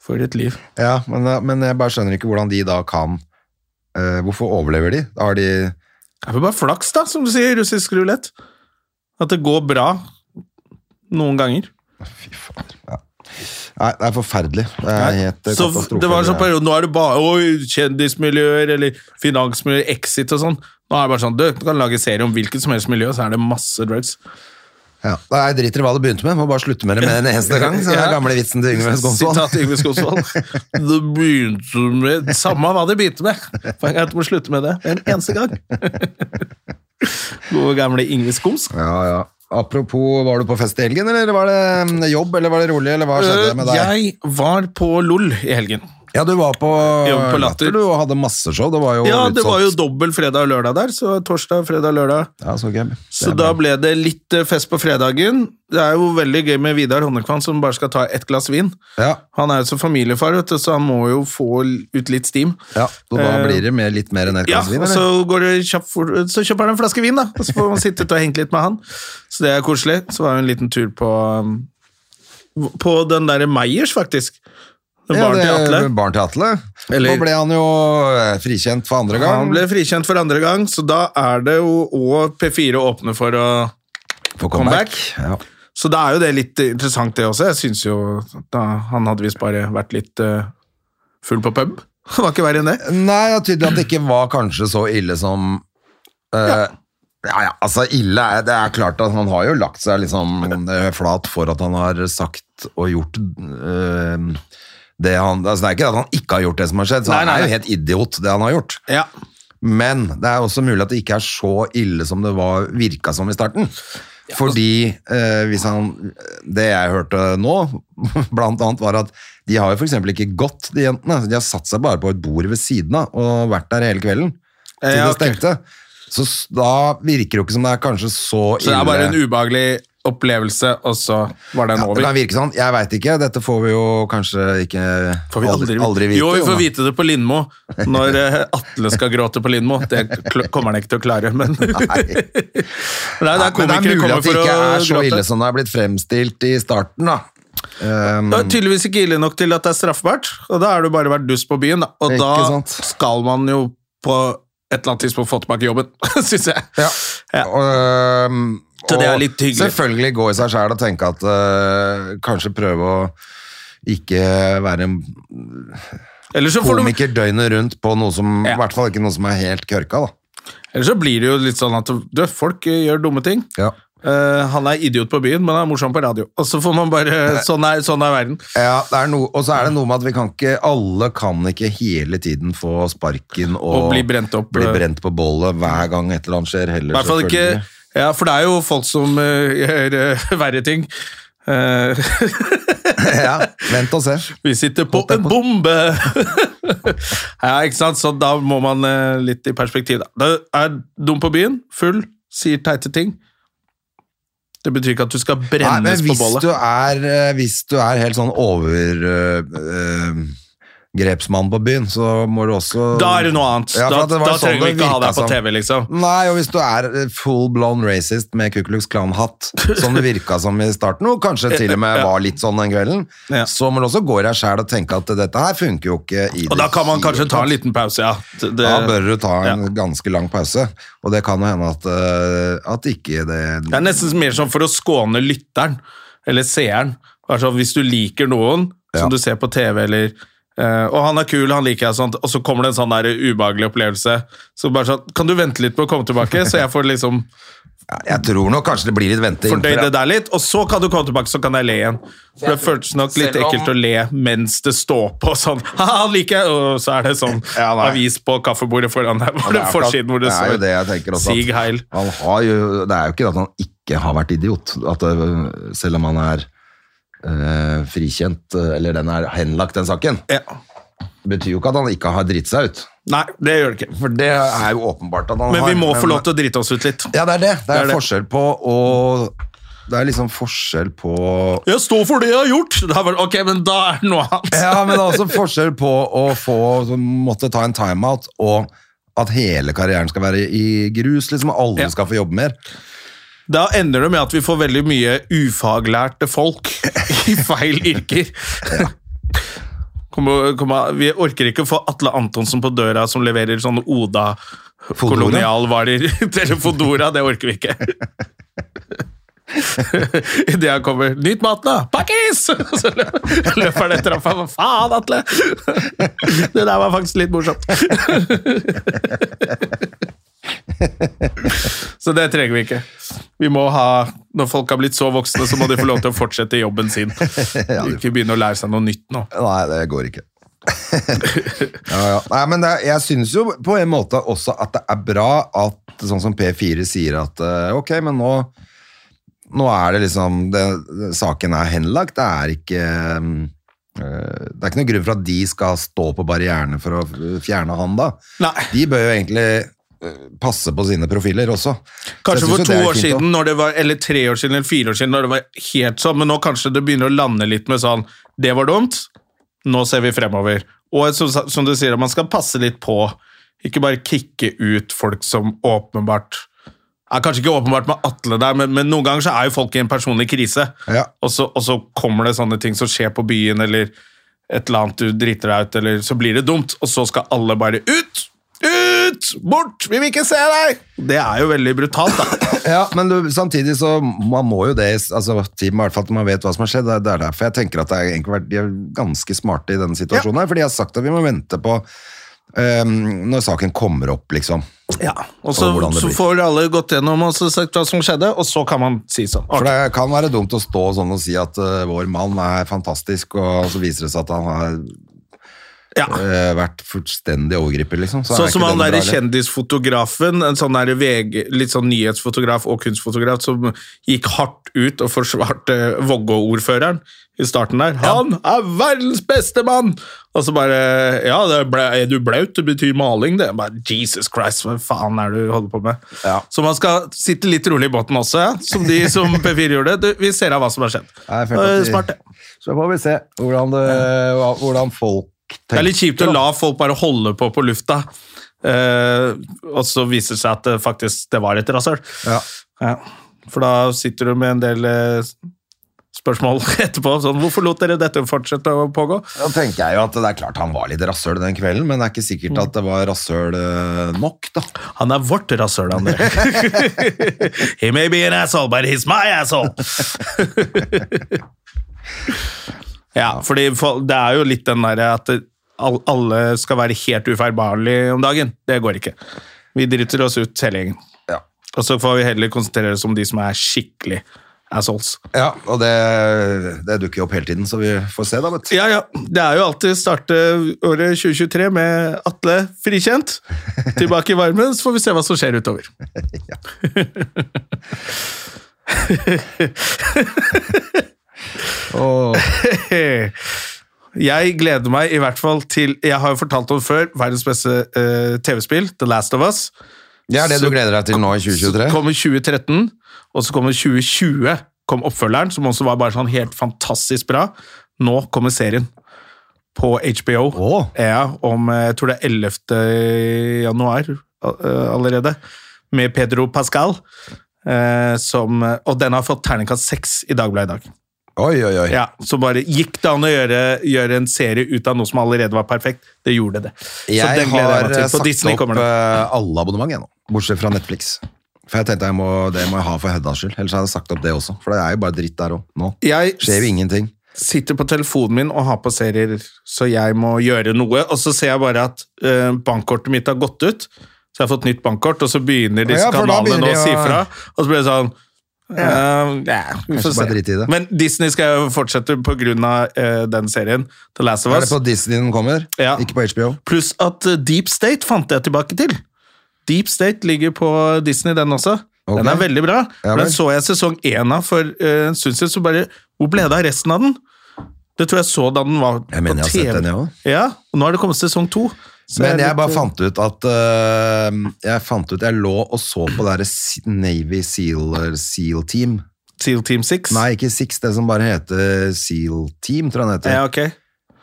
For et liv. Ja, men, eh, men jeg bare skjønner ikke hvordan de da kan eh, Hvorfor overlever de? Da har de Det er vel bare flaks, da, som du sier, russisk rulett. At det går bra noen ganger. Fy faen. Ja. Nei, det er forferdelig. Det er helt eh, Så katastrofe. det var en sånn Det er- periode, Nå er det bare oi, kjendismiljøer eller finansmiljøer, Exit og sånn. Nå er det bare sånn, du, du kan lage serie om hvilket som helst miljø, så er det masse drugs. Ja. Nei, jeg driter i hva det begynte med, må bare slutte med det med en eneste gang. <laughs> Så er Ja. den gamle vitsen til Yngve Sitat Skonsvold. Yngve Skåsvold. Det begynte med Samme hva det begynte med. Poenget er at du må slutte med det en eneste gang. Gode gamle Yngve Skås. <laughs> Ja, ja. Apropos, var du på fest i helgen, eller var det mm, jobb, eller var det rolig, eller hva skjedde med deg? Øh, Jeg var på LOL i helgen. Ja, du var på, Jobb på Latter. du, og hadde masse show. Det var jo sånn- Ja, det utsolgt. var jo dobbel fredag og lørdag der, så torsdag, fredag, lørdag. Ja, så gøy. Så Det er da bra. ble det litt eh, fest på fredagen. Det er jo veldig gøy med Vidar Honnekvam som bare skal ta ett glass vin. Ja, Han er jo så familiefar, vet du, så han må jo få ut litt steam. ja. Så da Eh, blir det mer, litt mer enn ett Ja, glass vin, og så, går det kjapt for, så kjøper han en flaske vin, da. Og så får man sitte og henge litt med han. Så det er koselig. Så var det en liten tur på um, På den derre Meyers, faktisk. Den Ja, Barn til det- Atle. Barn til Atle. Eller- Nå ble han jo eh, frikjent for andre gang. Han ble frikjent for andre gang, så da er det jo òg P4 åpne for å for Ja. Så da er jo det litt interessant, det også. Jeg syns jo da, Han hadde visst bare vært litt eh, full på pub. <laughs> Det var ikke verre enn det. Nei, det er tydelig at det ikke var kanskje så ille som eh, ja, ja, altså ille er Det er klart at han har jo lagt seg liksom eh, flat for at han har sagt og gjort eh, det han altså Det er ikke at han ikke har gjort det som har skjedd, så Nei, han nei, er nei. jo helt idiot, det han har gjort. Ja. Men det er også mulig at det ikke er så ille som det var, virka som i starten. Fordi altså- eh, hvis han, det jeg hørte nå, <laughs> blant annet, var at de har jo for eksempel ikke gått, de jentene. De har satt seg bare på et bord ved siden av og vært der hele kvelden. Til Ja, det ok. stengte. Så s- da virker det jo ikke som det er kanskje så ille. Så det er bare en ubehagelig opplevelse, og så var den ja, over. det kan virke sånn. Jeg veit ikke. Dette får vi jo kanskje ikke Får vi aldri, vite. Jo, vi får Jonas. vite det på Lindmo. Når eh, Atle skal gråte på Lindmo. Det kl- kommer han ikke til å klare, men <laughs> Nei, det er Men det er komikere mulig kommer at det for å ikke er så ille gråte. som det er blitt fremstilt i starten, da. Um, Det er tydeligvis ikke ille nok til at det er straffbart, og da har du bare vært dust på byen. da. Og Ikke da sant. skal man jo på et eller annet tidspunkt få tilbake jobben, <laughs> syns jeg. Ja. Ja. Og, øhm, Så det er og litt hyggelig. Selvfølgelig gå i seg sjæl og tenke at øh, kanskje prøve å ikke være en Eller så, får du, komiker døgnet rundt på noe som Ja. I hvert fall ikke noe som er helt kørka, da. eller så blir det jo litt sånn at du, folk eh, gjør dumme ting. Ja. Eh, han er idiot på byen, men han er morsom på radio. Og så får man bare Sånn er, sånn er verden. det er noe- og så er det noe med at vi kan ikke alle kan ikke hele tiden få sparken og, Og bli brent opp. øh. bli brent på bålet hver gang et eller annet skjer. I Heller, hvert fall ikke selvfølgelig. <laughs> Ja, for det er jo folk som eh, gjør eh, verre ting. Eh, <laughs> ja, vent og se. vi sitter på en bombe! <laughs> ja, ikke sant? Så da må man eh, litt i perspektiv, da. Det er dum på byen, full, sier teite ting. Det betyr ikke at du skal Nei, men brennes på hvis bålet. du, er, eh, hvis du er helt sånn over øh, øh, grepsmann på byen, så må du også Da er det noe annet. Ja, for da at det var da sånn trenger vi det ikke ha virka deg på som. TV, liksom. Nei, og hvis du er full blown racist med Ku Klux Klan-hatt, som det virka som i starten, og kanskje til og <laughs> med var litt sånn den kvelden, Ja. så må du også gå i deg sjæl og tenke at dette her funker jo ikke. I Og da kan man kanskje ta eh, en liten pause, ja. Det, det, Da bør du ta en ganske lang pause, og det kan jo hende at, eh, at ikke det Det er nesten mer sånn for å skåne lytteren, eller seeren. Altså, hvis du liker noen som Ja. du ser på TV, eller eh, Og han er kul, han liker jeg, sånt, og så kommer det en sånn der ubehagelig opplevelse. Så bare sånn Kan du vente litt på å komme tilbake, så jeg får liksom Jeg tror nok kanskje <laughs> det blir litt venting. fordøyd det der litt? Og så kan du komme tilbake, så kan jeg le igjen. For det føltes nok litt Selv om- ekkelt å le mens det står på sånn <laughs> Haha, han liker jeg! Og så er det sånn Ja, nei. avis på kaffebordet foran deg, Ja, hvor det det er klart. forsiden hvor det Det er jo det jeg tenker står også, at- Sig Heil. Han har jo, det er jo ikke at han ikke har vært idiot, at det, selv om øh, han er eh, frikjent, eh, eller den er henlagt, den saken. Ja. betyr jo ikke at han ikke har dritt seg ut. Nei, det gjør det ikke. For det er jo åpenbart at han Men har. vi må få lov til å drite oss ut litt. Ja, det er det. Det er, Det er det. forskjell på å Det er liksom forskjell på Jeg står for det jeg har gjort! Da var det, ok, men da er det noe annet. Ja, men det er også forskjell på å få måtte ta en timeout og at hele karrieren skal være i grus, liksom. Alle Ja. skal få jobbe mer. Da ender det med at vi får veldig mye ufaglærte folk <laughs> i feil yrker. Kom, og- kom, og- vi orker ikke å få Atle Antonsen på døra som leverer sånne Oda Fodora? <laughs> kolonialvarer eller Fodora. Det orker vi ikke. <laughs> Idet han kommer 'Nyt mat, da! Pakkis!' <laughs> Og Så lø- løper han etter ham. Hva faen, Atle? <laughs> Det der var faktisk litt morsomt. Så det trenger vi ikke. Vi må ha, Når folk har blitt så voksne, så må de få lov til å fortsette jobben <laughs> sin. Ikke begynne å lære seg noe nytt nå. Nei, det går ikke. <laughs> ja, ja. Nei, men det, er- jeg synes jo på en måte også at det er bra at sånn som P4 sier at eh, ok, men nå nå er det liksom det, det- Saken er henlagt. Det er ikke eh, det er ikke noen grunn for at de skal stå på barrierene for å fjerne han, da. Nei. De bør jo egentlig eh, passe på sine profiler også. Så jeg Kanskje synes for jo to det er år fint også. siden, når det var, eller tre år siden, eller fire år siden, når det var helt sånn, men nå kanskje det begynner å lande litt med sånn Det var dumt, nå ser vi fremover. Og som, som du sier, man skal passe litt på. Ikke bare kicke ut folk som åpenbart er Kanskje ikke åpenbart med Atle der, men, men noen ganger så er jo folk i en personlig krise. Ja. Og, så, og så kommer det sånne ting som skjer på byen, eller et eller annet du driter deg ut, eller så blir det dumt, og så skal alle bare ut! Ut! Bort! Vi vil ikke se deg! Det er jo veldig <coughs> brutalt, da. Ja, men du, samtidig så man må jo det altså, til, i hvert fall at man vet hva som har skjedd. Det er- Det er derfor jeg tenker at det er egentlig vært, de er ganske smarte i denne situasjonen. her, For de har sagt at vi må vente på ehm, når saken kommer opp, liksom. Ja, og så, Og hvordan det så blir. får alle gått gjennom og så sagt hva som skjedde, og så kan man si sånn. For det kan være dumt å stå sånn og si at eh, vår mann er fantastisk, og så viser det seg at han har Ja. eh, vært fullstendig overgriper, liksom. Så er Sånn ikke som han den der bra, eller? kjendisfotografen, en sånn der VG, litt sånn nyhetsfotograf og kunstfotograf, som gikk hardt ut og forsvarte Vågå-ordføreren i starten der. Han er verdens beste mann! Og så bare Ja, det ble, er du blaut? Det betyr maling, det. Bare, Jesus Christ, hva faen er det du holder på med? Ja. Så man skal sitte litt rolig i båten også, ja. som de <laughs> som P4 gjorde. Du, vi ser av hva som har skjedd. Nei, jeg følte at Eh, de- Smart, det. Så får vi se hvordan, det, hva- hvordan folk tenker. Det er litt kjipt å la folk bare holde på på lufta, eh, og så viser det seg at det faktisk det var et rasshøl. Ja. Ja. For da sitter du med en del eh, spørsmål <laughs> etterpå. Sånn, hvorfor lot dere dette fortsette å pågå? Da tenker jeg jo at det er klart han var litt rasshøl den kvelden, men det er ikke sikkert at det var rasshøl eh, nok, da. Han er vårt rasshøl, <laughs> André. He may be an asshole, but he's my asshole! <laughs> ja, fordi for, det er jo litt den derre at det- all, alle skal være helt ufeilbarlige om dagen. Det går ikke. Vi driter oss ut hele gjengen. Ja. Og så får vi heller konsentrere oss om de som er skikkelig assholes. Ja, og det, det dukker jo opp hele tiden, så vi får se, da, vet du. Ja, ja. Det er jo alltid starte året 2023 med Atle frikjent. Tilbake i varmen, så får vi se hva som skjer utover. <laughs> Jeg gleder meg i hvert fall til Jeg har jo fortalt om før verdens beste eh, TV-spill, The Last of Us. Det er det du gleder deg til nå i Så 2023? kommer 2013, og så kommer 2020, kom oppfølgeren, som også var bare sånn helt fantastisk bra. Nå kommer serien på HBO. Åh. Ja, om eh, jeg tror det er 11. januar eh, allerede, med Pedro Pascal. eh, Som, og den har fått terningkast seks i Dagbladet i dag. Oi, oi, oi. Ja, så bare gikk det an å gjøre, gjøre en serie ut av noe som allerede var perfekt. Det gjorde det. så Jeg den gleder jeg har meg eh, til. På sagt Disney opp kommer det. eh, alle abonnement, jeg nå. Bortsett fra Netflix. For jeg tenkte jeg må, det må jeg ha for Heddas skyld, ellers hadde jeg sagt opp det også. For det er jo bare dritt der òg, nå. Jeg Skjer jo ingenting. sitter på telefonen min og har på serier, så jeg må gjøre noe. Og så ser jeg bare at eh, bankkortet mitt har gått ut, så jeg har fått nytt bankkort, og så begynner disse Ja, for da kanalene begynner nå de å å- si fra. Og så blir det sånn eh, ja, vi får Kanskje bare drite se. i det. Men Disney skal jo fortsette på grunn av eh, den serien, The Last of Er det Us. på Disney den kommer? Ja. Ikke på HBO? Pluss at eh, Deep State fant jeg tilbake til. Deep State ligger på Disney, den også. Ok. Den er veldig bra. Ja den vel. så jeg sesong én av for eh, en stund siden, så bare Hvor ble det av resten av den? Det tror jeg så da den var Jeg mener på jeg har TV. sett den, jeg også. Ja, og nå er det kommet sesong to. Så Men er jeg litt, bare eh, fant ut at øh, Jeg fant ut, jeg lå og så på det der Navy Seal, Seal Team. Seal Team 6. Nei, ikke Six, det som bare heter Seal Team, tror jeg den heter. Ja, ok.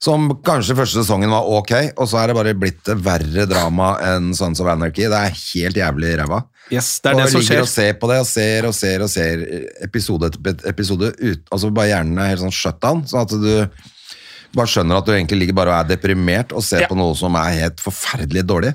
Som kanskje første sesongen var ok, og så er det bare blitt verre drama enn Sons of Anarchy. Det er helt jævlig ræva. Yes, det er det og som ligger skjer. og ser på det, og ser og ser og ser episode etter episode, ut, altså bare hjernen er helt sånn shutdown, sånn at du bare skjønner at du egentlig ligger bare og er deprimert og ser Ja. på noe som er helt forferdelig dårlig.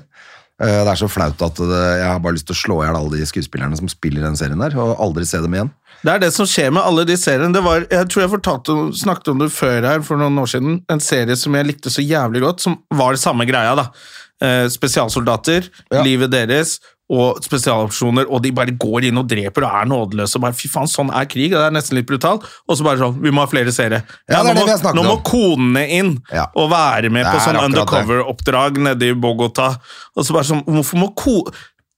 Eh, Det er så flaut at det, jeg har bare lyst til å slå i hjel alle de skuespillerne som spiller i den serien der, og aldri se dem igjen. Det er det som skjer med alle de seriene. Det var, jeg tror jeg fortalte, om- snakket om det før her, for noen år siden. En serie som jeg likte så jævlig godt, som var det samme greia, da. Eh, spesialsoldater, Ja. livet deres og spesialopsjoner, og de bare går inn og dreper og er nådeløse og bare fy faen, sånn er krig, og det er nesten litt brutalt. Og så bare sånn, vi må ha flere seere. Ja, det er det nå, vi har må- snakket nå må om. konene inn Ja. og være med Det på er sånn akkurat det. undercover-oppdrag nede i Bogotá. Og så bare sånn, hvorfor må ko...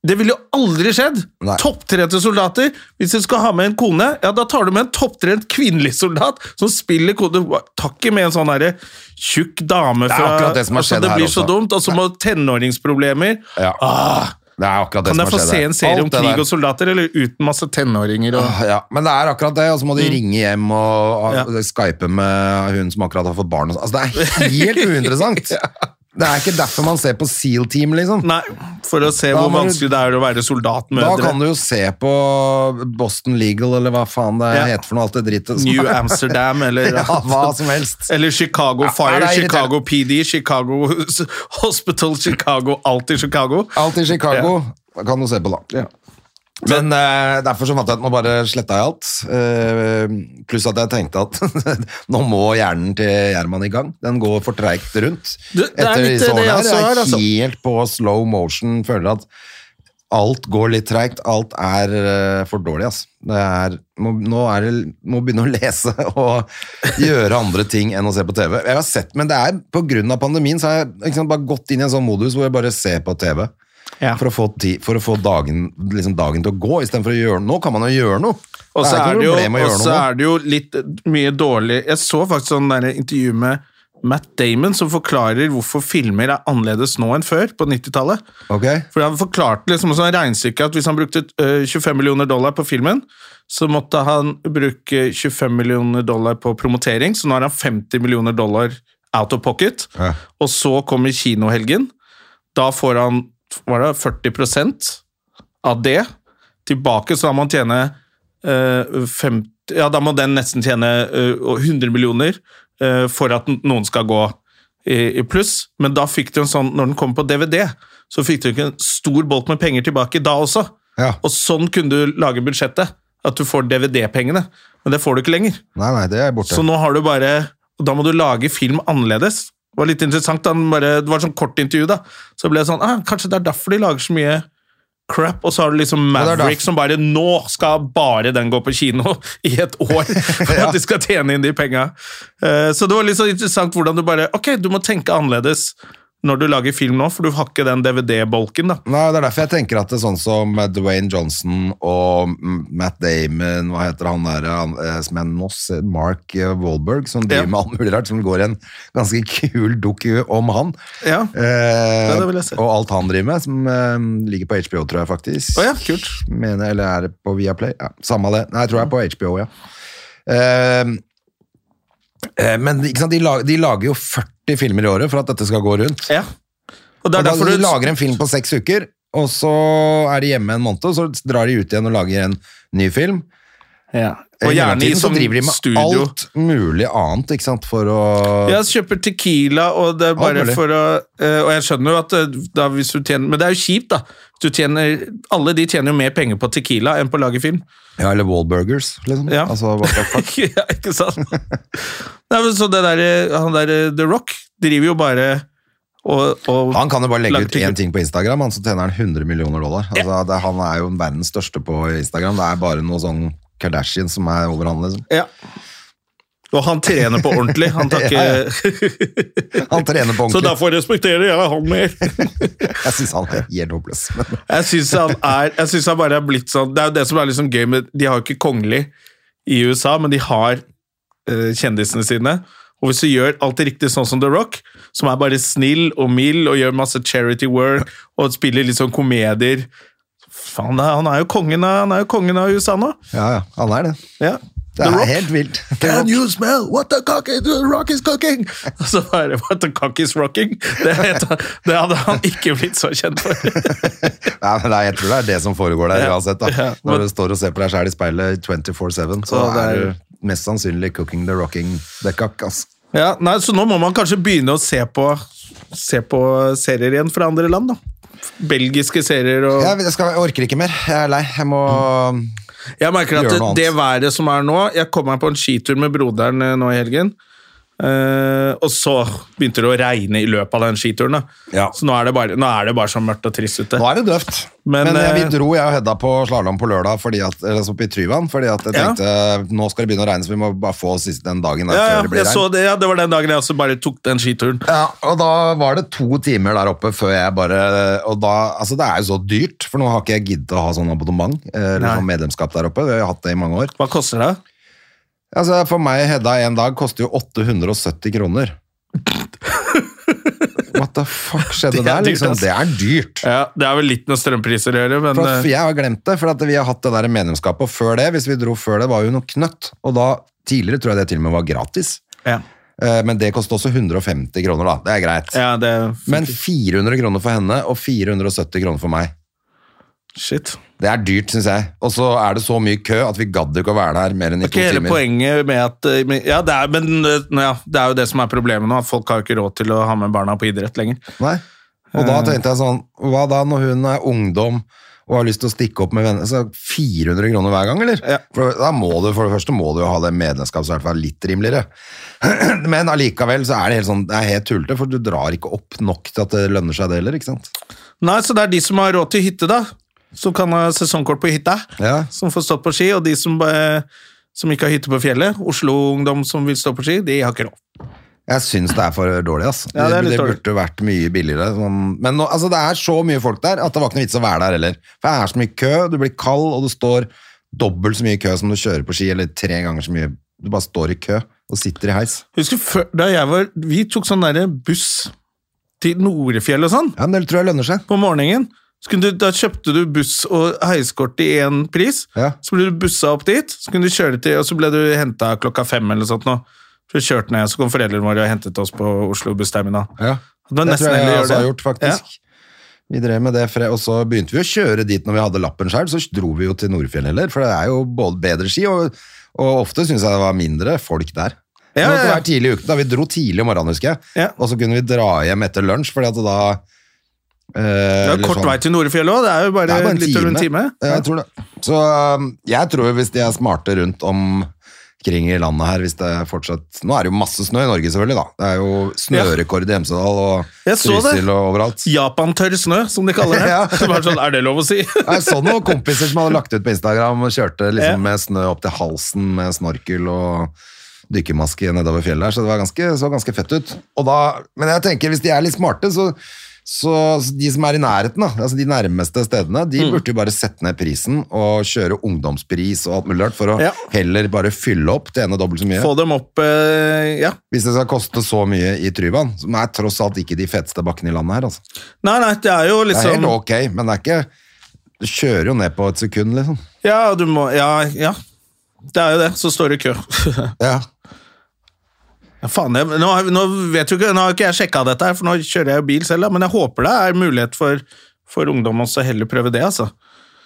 Det ville jo aldri skjedd! Nei. Topptrente soldater. Hvis du skal ha med en kone, ja, da tar du med en topptrent kvinnelig soldat som spiller kode. Ta ikke med en sånn herre tjukk dame er fra Altså, akkurat det som har skjedd det her blir så også. dumt. Og så må tenåringsproblemer. Ja. Ah, Det er akkurat det kan som jeg har få skjedd se her. en serie om Alt det krig der. og soldater, eller uten masse tenåringer og Mm. Ah, Ja, men det er akkurat det, og så må de ringe hjem og ah, Ja. skype med hun som akkurat har fått barn. og sånn. Altså, det <laughs> er helt uinteressant. Det er ikke derfor man ser på SEAL Team, liksom. Nei, for å se Da hvor må du- vanskelig det er å være soldatmødre. Da kan du jo se på Boston Legal, eller hva faen det Ja. heter for noe, alt det drittet. som New er- Amsterdam, eller <laughs> Ja, hva som <laughs> helst. Eller Chicago Fire, det er irriterende. Chicago PD, Chicago <laughs> Hospital, Chicago, alt i Chicago. Alt i Chicago kan du se på, da. Men eh, derfor så fant jeg at nå bare sletta jeg alt. Eh, pluss at jeg tenkte at <laughs> nå må hjernen til Gjerman i gang. Den går for treigt rundt. Du, det er litt det jeg også Jeg har, altså. helt på slow motion. Føler at alt går litt treigt. Alt er eh, for dårlig, altså. Det er, må, nå er det, må begynne å <laughs> lese og gjøre andre ting enn å se på TV. Jeg har sett, Men det er på grunn av pandemien så har jeg ikke sant, bare gått inn i en sånn modus hvor jeg bare ser på TV. Ja. For å få, ti, for å få dagen, liksom dagen til å gå, istedenfor å gjøre Nå kan man jo gjøre noe. Og så ikke er, noe det jo, problem å og gjøre så noe. er det jo litt mye dårlig Jeg så faktisk sånn der intervju med Matt Damon som forklarer hvorfor filmer er annerledes nå enn før, på 90-tallet. Ok? For han forklarte liksom et sånt regnestykke at hvis han brukte eh, 25 millioner dollar på filmen, så måtte han bruke 25 millioner dollar på promotering, så nå har han 50 millioner dollar out of pocket. Ja. Og så kommer kinohelgen. Da får han var det 40 av det tilbake, så da må han tjene eh, 50 Ja, da må den nesten tjene eh, 100 millioner eh, for at n- noen skal gå i, i pluss. Men da fikk du en sånn, når den kom på DVD, så fikk du ikke en stor bolk med penger tilbake da også. Ja. Og sånn kunne du lage budsjettet. At du får DVD-pengene. Men det får du ikke lenger. Nei, nei, det er borte. Så nå har du bare og Da må du lage film annerledes. Det var litt interessant. da. Den bare, det var et sånn kort intervju, da. Så ble det sånn ah, Kanskje det er derfor de lager så mye crap, og så har du liksom det er Maverick derfor- som bare Nå skal bare den gå på kino i et <laughs> år! For at de skal tjene inn de penga. Eh, Så det var litt sånn interessant hvordan du bare Ok, du må tenke annerledes når du lager film nå, for du har ikke den DVD-bolken, da. Nei, Det er derfor jeg tenker at det er sånn som Dwayne Johnson og M- Matt Damon Hva heter han der han, eh, som er Noss? Mark eh, Wahlberg, som driver Ja. med alt mulig rart. Som går i en ganske kul doku om han. Ja. Eh, det vil jeg se. og alt han driver med, som eh, ligger på HBO, tror jeg faktisk. Å ja, kult. Mener, jeg, eller er det på Viaplay? Ja, samme det. Nei, jeg tror jeg er på HBO, ja. Eh, eh, men ikke sant, de, lag, de lager jo 40 filmer i året for at dette skal gå rundt. Ja. Og Og det er da derfor de du lager en film på seks uker, og så er de hjemme en måned, og så drar de ut igjen og lager en ny film. ja. I Og gjerne i mellomtiden så sånn driver de med studio. alt mulig annet, ikke sant, for å Jeg kjøper tequila, og det er bare mulig. for å eh, Og jeg skjønner jo at eh, da, hvis du tjener Men det er jo kjipt, da. Du tjener, alle de tjener jo mer penger på tequila enn på å lage <laughs> film. Ja, eller Wallburgers, liksom. Ja. Altså, hva the <laughs> fuck? ja, ikke sant? Nei, men så det der, eh, han der eh, The Rock driver jo bare og, og Han kan jo bare legge Lager ut tequila. én ting på Instagram, han så tjener han 100 millioner dollar. Altså, det, han er jo verdens største på Instagram. Det er bare noe sånn Kardashian som er over han, liksom. ja. Og han trener på ordentlig. <laughs> Han tar ikke <laughs> Ja, Han trener på Så ordentlig. derfor respekterer jeg han mer. Jeg syns han er helt håpløs. Men Jeg syns han, er- jeg synes han bare er blitt sånn Det er jo det som er liksom gøy med De har jo ikke kongelig i USA, men de har eh, kjendisene sine. Og hvis du gjør alt det riktig sånn som The Rock, som er bare snill og mild og gjør masse charity work og spiller litt sånn komedier Faen, da, han er jo kongen av, han er jo kongen av USA nå. Ja, ja. Han er det. Ja. Det er helt vilt. Can you smell what the, cock is, the rock is cooking? <laughs> Og så bare What the cock is rocking? Det, het, det hadde han ikke blitt så kjent for. <laughs> <laughs> Nei, men det er- jeg tror det er det som foregår der Ja. uansett. da. Ja. Når du står og ser på deg sjæl i speilet 24-7, så Ja, det er er- du mest sannsynlig cooking the rocking the cock. ass. Ja, nei, Så nå må man kanskje begynne å se på, se på serier igjen fra andre land, da. Belgiske serier og Jeg, jeg, skal, jeg orker ikke mer. Jeg er lei. Jeg må Mm. Jeg merker at Gjør det, noe annet. det været som er nå Jeg kom meg på en skitur med broderen eh, nå i helgen. Eh, og så begynte det å regne i løpet av den skituren. Da. Ja. Så nå er, det bare, nå er det bare så mørkt og trist ute. Nå er det døvt. Men, Men, eh, vi eh, dro, jeg og Hedda, på slalåm på lørdag fordi at, eller altså oppe i Tryvann. Fordi at jeg Ja. tenkte eh, nå skal det begynne å regne, så vi må bare få siste den dagen der Ja, ja, før det blir jeg så regn. det, ja, det var den dagen jeg også bare tok den skituren. Ja, og da var det to timer der oppe før jeg bare Og da, altså det er jo så dyrt, for nå har ikke jeg giddet å ha sånn abonnement eh, eller Nei. sånn medlemskap der oppe. Vi har jo hatt det i mange år. Hva koster det? Altså For meg, Hedda, en dag koster jo 870 kroner. What the fuck skjedde <laughs> Det er der? dyrt, Liksom? ass. Det er dyrt. Ja, det er vel litt med strømpriser å gjøre, men For at eh, jeg har glemt det, for at vi har hatt det der medlemskapet, og før det, hvis vi dro før det, var jo noe knøtt, og da, tidligere tror jeg det til og med var gratis, ja, Eh, men det kostet også 150 kroner da, det er greit. ja, det Men 400 kroner for henne, og 470 kroner for meg. Shit. Det er dyrt, synes jeg. Og så er det så mye kø at vi gadde ikke å være der mer enn i Det er to ikke hele timer. poenget med at eh, men- Ja, det er, men eh, nå ja, det er jo det som er problemet nå, at folk har jo ikke råd til å ha med barna på idrett lenger. Nei. Og Eh. da tenkte jeg sånn, hva da når hun er ungdom og har lyst til å stikke opp med venner, så 400 kroner hver gang, eller? Ja. For, da må du, for det første må du jo ha det medlemskapet som i hvert fall er litt rimeligere. <clears throat> Men allikevel så er det helt sånn, det er helt tullete, for du drar ikke opp nok til at det lønner seg det heller, ikke sant? Nei, så det er de som har råd til hytte, da. Som kan ha sesongkort på hytta. Ja. Som får stått på ski. Og de som, eh, som ikke har hytte på fjellet, Oslo-ungdom som vil stå på ski, de har ikke råd. Jeg syns det er for dårlig, ass. Ja, det er litt dårlig. burde vært mye billigere. Sånn. Men nå, altså, det er så mye folk der at det var ikke noe vits å være der heller. For det er så mye kø, du blir kald, og du står dobbelt så mye i kø som du kjører på ski, eller tre ganger så mye. Du bare står i kø og sitter i heis. Husker før, da jeg var Vi tok sånn derre buss til Norefjell og sånn Ja, men det tror jeg lønner seg. på morgenen. Så kunne du, da kjøpte du buss og heiskort i én pris. Ja. Så ble du bussa opp dit, så kunne du kjøre til, og så ble du henta klokka fem eller sånt. Nå. Så kjørte ned, så kom foreldrene våre og hentet oss på Oslo bussterminal. Det var Det nesten tror jeg heller jeg å gjøre også har det. gjort, faktisk. Vi drev med det, fre- og så begynte vi å kjøre dit når vi hadde lappen selv, så dro vi jo til Nordfjell heller, for det er jo både bedre ski, og, og ofte synes jeg det var mindre folk der. Ja, Men ja, det ja. var tidlig i uken, da vi dro tidlig om morgenen, husker jeg, Ja. og så kunne vi dra hjem etter lunsj, fordi at da... eh, Det er eller jo kort sånn. vei til Norefjell òg, det er jo bare, Det er bare en litt over en time. Ja, jeg tror det. Så um, jeg tror hvis de er smarte rundt omkring i landet her, hvis det fortsatt Nå er det jo masse snø i Norge, selvfølgelig, da. Det er jo snørekord i Hemsedal og Jeg så det. Trysil og overalt. Japantørr snø, som de kaller det. <laughs> Ja. Det var sånn, Er det lov å <laughs> si? Jeg så noen kompiser som hadde lagt ut på Instagram og kjørte Ja. liksom med snø opp til halsen med snorkel og dykkermaske nedover fjellet her, så det var ganske, så ganske fett ut. Og da, men jeg tenker, hvis de er litt smarte, så, så, så de som er i nærheten, da, altså de nærmeste stedene, de Mm. burde jo bare sette ned prisen og kjøre ungdomspris og alt mulig rart, for å Ja. heller bare fylle opp, tjene dobbelt så mye. Få dem opp eh, Ja. Hvis det skal koste så mye i Tryvann, som er tross alt ikke de feteste bakkene i landet her, altså. Nei, nei, det er jo Det er liksom helt ok, men det er ikke... Du kjører jo ned på et sekund, liksom. Ja, du må Ja, ja. Det er jo det. Så står du i kø. <laughs> ja, Ja. faen, jeg, nå, har vi- nå vet du ikke Nå har ikke jeg sjekka dette, her, for nå kjører jeg jo bil selv, da, men jeg håper det er mulighet for, for ungdom også å heller prøve det, altså.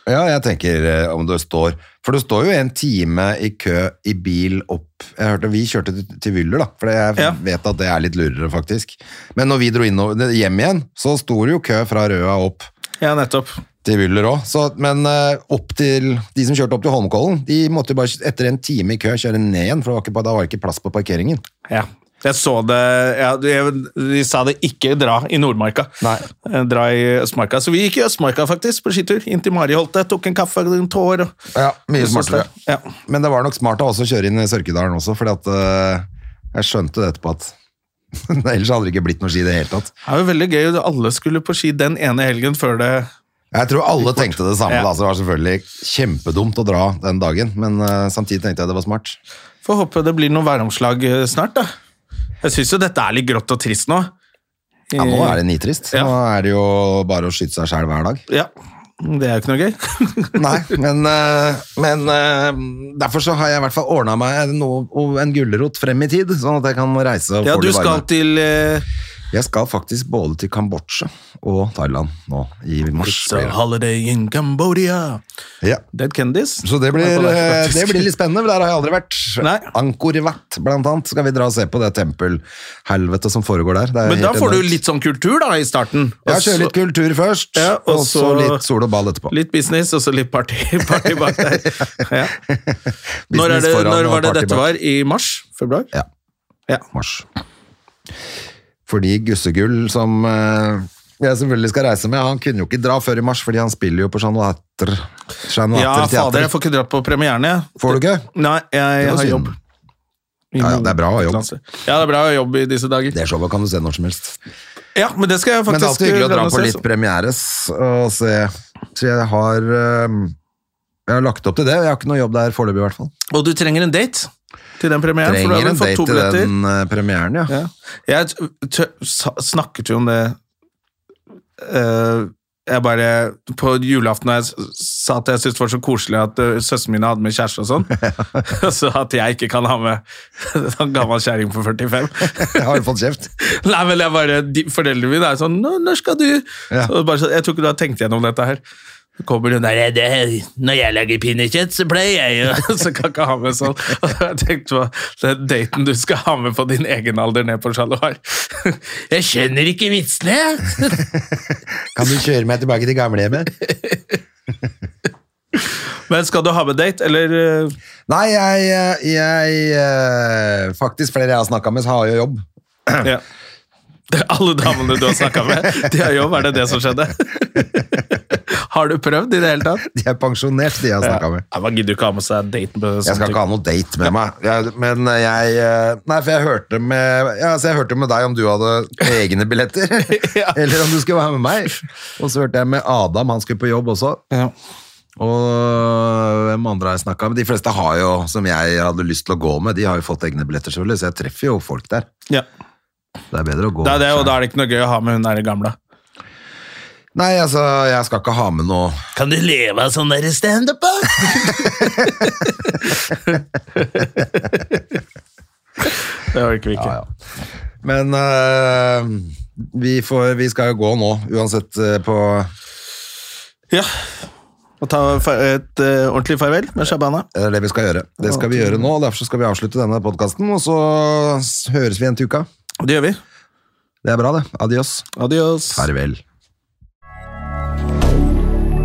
Ja, jeg tenker eh, om du står For du står jo en time i kø i bil opp Jeg hørte vi kjørte til, til Vyller da For jeg Ja. vet at det er litt lurere faktisk Men når vi dro inn og- hjem igjen Så sto det jo kø fra Røa opp Ja, nettopp. til Vyller også så, Men eh, opp til De som kjørte opp til Holmkollen De måtte jo bare etter en time i kø kjøre ned igjen For det var ikke, da var det ikke plass på parkeringen Ja. Jeg så det ja, de, de sa det ikke dra i Nordmarka. Nei. Eh, Dra i Østmarka. Så vi gikk i Østmarka, faktisk, på skitur. Inn til Mariholte, tok en kaffe og en tår. Og, Ja, mye smartere Ja. Men det var nok smart å også kjøre inn i Sørkedalen også Fordi at eh, jeg skjønte det etterpå at <laughs> Ellers hadde det ikke blitt noe ski i det hele tatt Det er jo veldig gøy. Alle skulle på ski den ene helgen før det Jeg tror alle tenkte det samme. Da, så det var selvfølgelig kjempedumt å dra den dagen, men eh, samtidig tenkte jeg det var smart. Får håpe det blir noen væromslag eh, snart, da. Jeg syns jo dette er litt grått og trist nå. Ja, nå er det nitrist. Ja. Nå er det jo bare å skyte seg sjæl hver dag. <laughs> Ja, Det er jo ikke noe gøy. Nei, men, eh, men eh, derfor så har jeg i hvert fall ordna meg noe, en gulrot frem i tid, sånn at jeg kan reise og Ja, få du litt varme. skal til eh, Jeg skal faktisk både til Kambodsja og Thailand nå i mars. It's a holiday in Cambodia. Ja. Dead Kendis. Så det blir, Var på der, eh, faktisk. det blir litt spennende, for der har jeg aldri vært. Nei. Angkor Wat, blant annet, skal vi dra og se på det tempelhelvete som foregår der. Det er <laughs> Men da helt får du enormt. litt sånn kultur, da, i starten. eh, Ja, Og så- kjøre litt kultur først, Ja, og og, så, så- litt sol og ball etterpå. Litt business, og så litt party, <laughs> party <laughs> bak der. Ja. Når, er Business det, foran og når var det party dette bak. var? I mars? Februar? Ja. Ja. Mars. Fordi Gussegull, som eh, jeg selvfølgelig skal reise med, han kunne jo ikke dra før i mars, fordi han spiller jo på Jean Latter. Jean Ja, Latter fader, Teater. jeg får ikke dratt på premieren, jeg. Får du ikke? Nei, jeg Det var har synd. jobb. Ja, ja, det er bra å ha jobb. Ja, det er bra å ha jobb i disse dager. Det showet kan du se når som helst. Ja, men det skal jeg Men det er faktisk alltid hyggelig å dra glede meg på til, litt så- premieres og se. Så jeg har eh, Jeg har lagt opp til det. Jeg har ikke noe jobb der foreløpig, i hvert fall. Og du trenger en date til den premieren, for da har Trenger du en fått date to til billetter. den eh, premieren, ja. Ja. Jeg t t sa- snakket jo om det eh, Jeg bare På julaften da jeg s- sa at jeg syntes det var så koselig at eh, søsteren min hadde med kjæreste og sånn, <laughs> så at jeg ikke kan ha med <laughs> en gammel kjerring på 45. Jeg har jo fått kjeft. Nei, men jeg bare, de, Foreldrene mine er sånn «Nå, 'Når skal du?' Ja. Og bare, så- jeg tror ikke du har tenkt gjennom dette her. Så kommer hun der det, 'Når jeg lager pinnekjøtt, så pleier jeg jo <laughs> Så kan jeg ikke ha med sånn. Og da har jeg tenkt på den daten du skal ha med på din egen alder ned på Chaloir. <laughs> Jeg skjønner ikke vitsene, jeg! <laughs> Kan du kjøre meg tilbake til gamlehjemmet? Men skal du ha med date, eller eh, <laughs> Nei, jeg, eh, jeg eh, Faktisk flere jeg har snakka med, har jo jobb. eh, ja. <laughs> Alle damene du har snakka med, de har jobb. Er det det som skjedde? <laughs> Har du prøvd i det hele tatt? <laughs> De er pensjonert, de jeg har snakka med. Ja, Man gidder jo ikke ha med seg daten på sånn Jeg skal ikke ha noe date med meg, jeg, men jeg eh, Nei, for jeg hørte med ja, altså Jeg hørte med deg om du hadde egne billetter, <laughs> Ja. <laughs> eller om du skulle være med meg. Og så hørte jeg med Adam, han skulle på jobb også. Ja. Og hvem andre har jeg snakka med? De fleste har jo, som jeg hadde lyst til å gå med, de har jo fått egne billetter, selvfølgelig, så jeg treffer jo folk der. Ja. Det er bedre å gå Det er det, og selv. da er det ikke noe gøy å ha med hun der gamle. Nei, altså, jeg skal ikke ha med noe Kan du leve av sånn derre standup, da? det orker vi ikke. Ja, Men øh, vi, får, vi skal jo gå nå, uansett øh, på Ja. Og ta fa- et eh, ordentlig farvel med Shabana. det er Eh, det vi skal gjøre. Det skal vi gjøre nå, og derfor så skal vi avslutte denne podkasten. Og så s- høres vi igjen til uka. Det gjør vi. Det er bra, det. Adios. Adios. Farvel.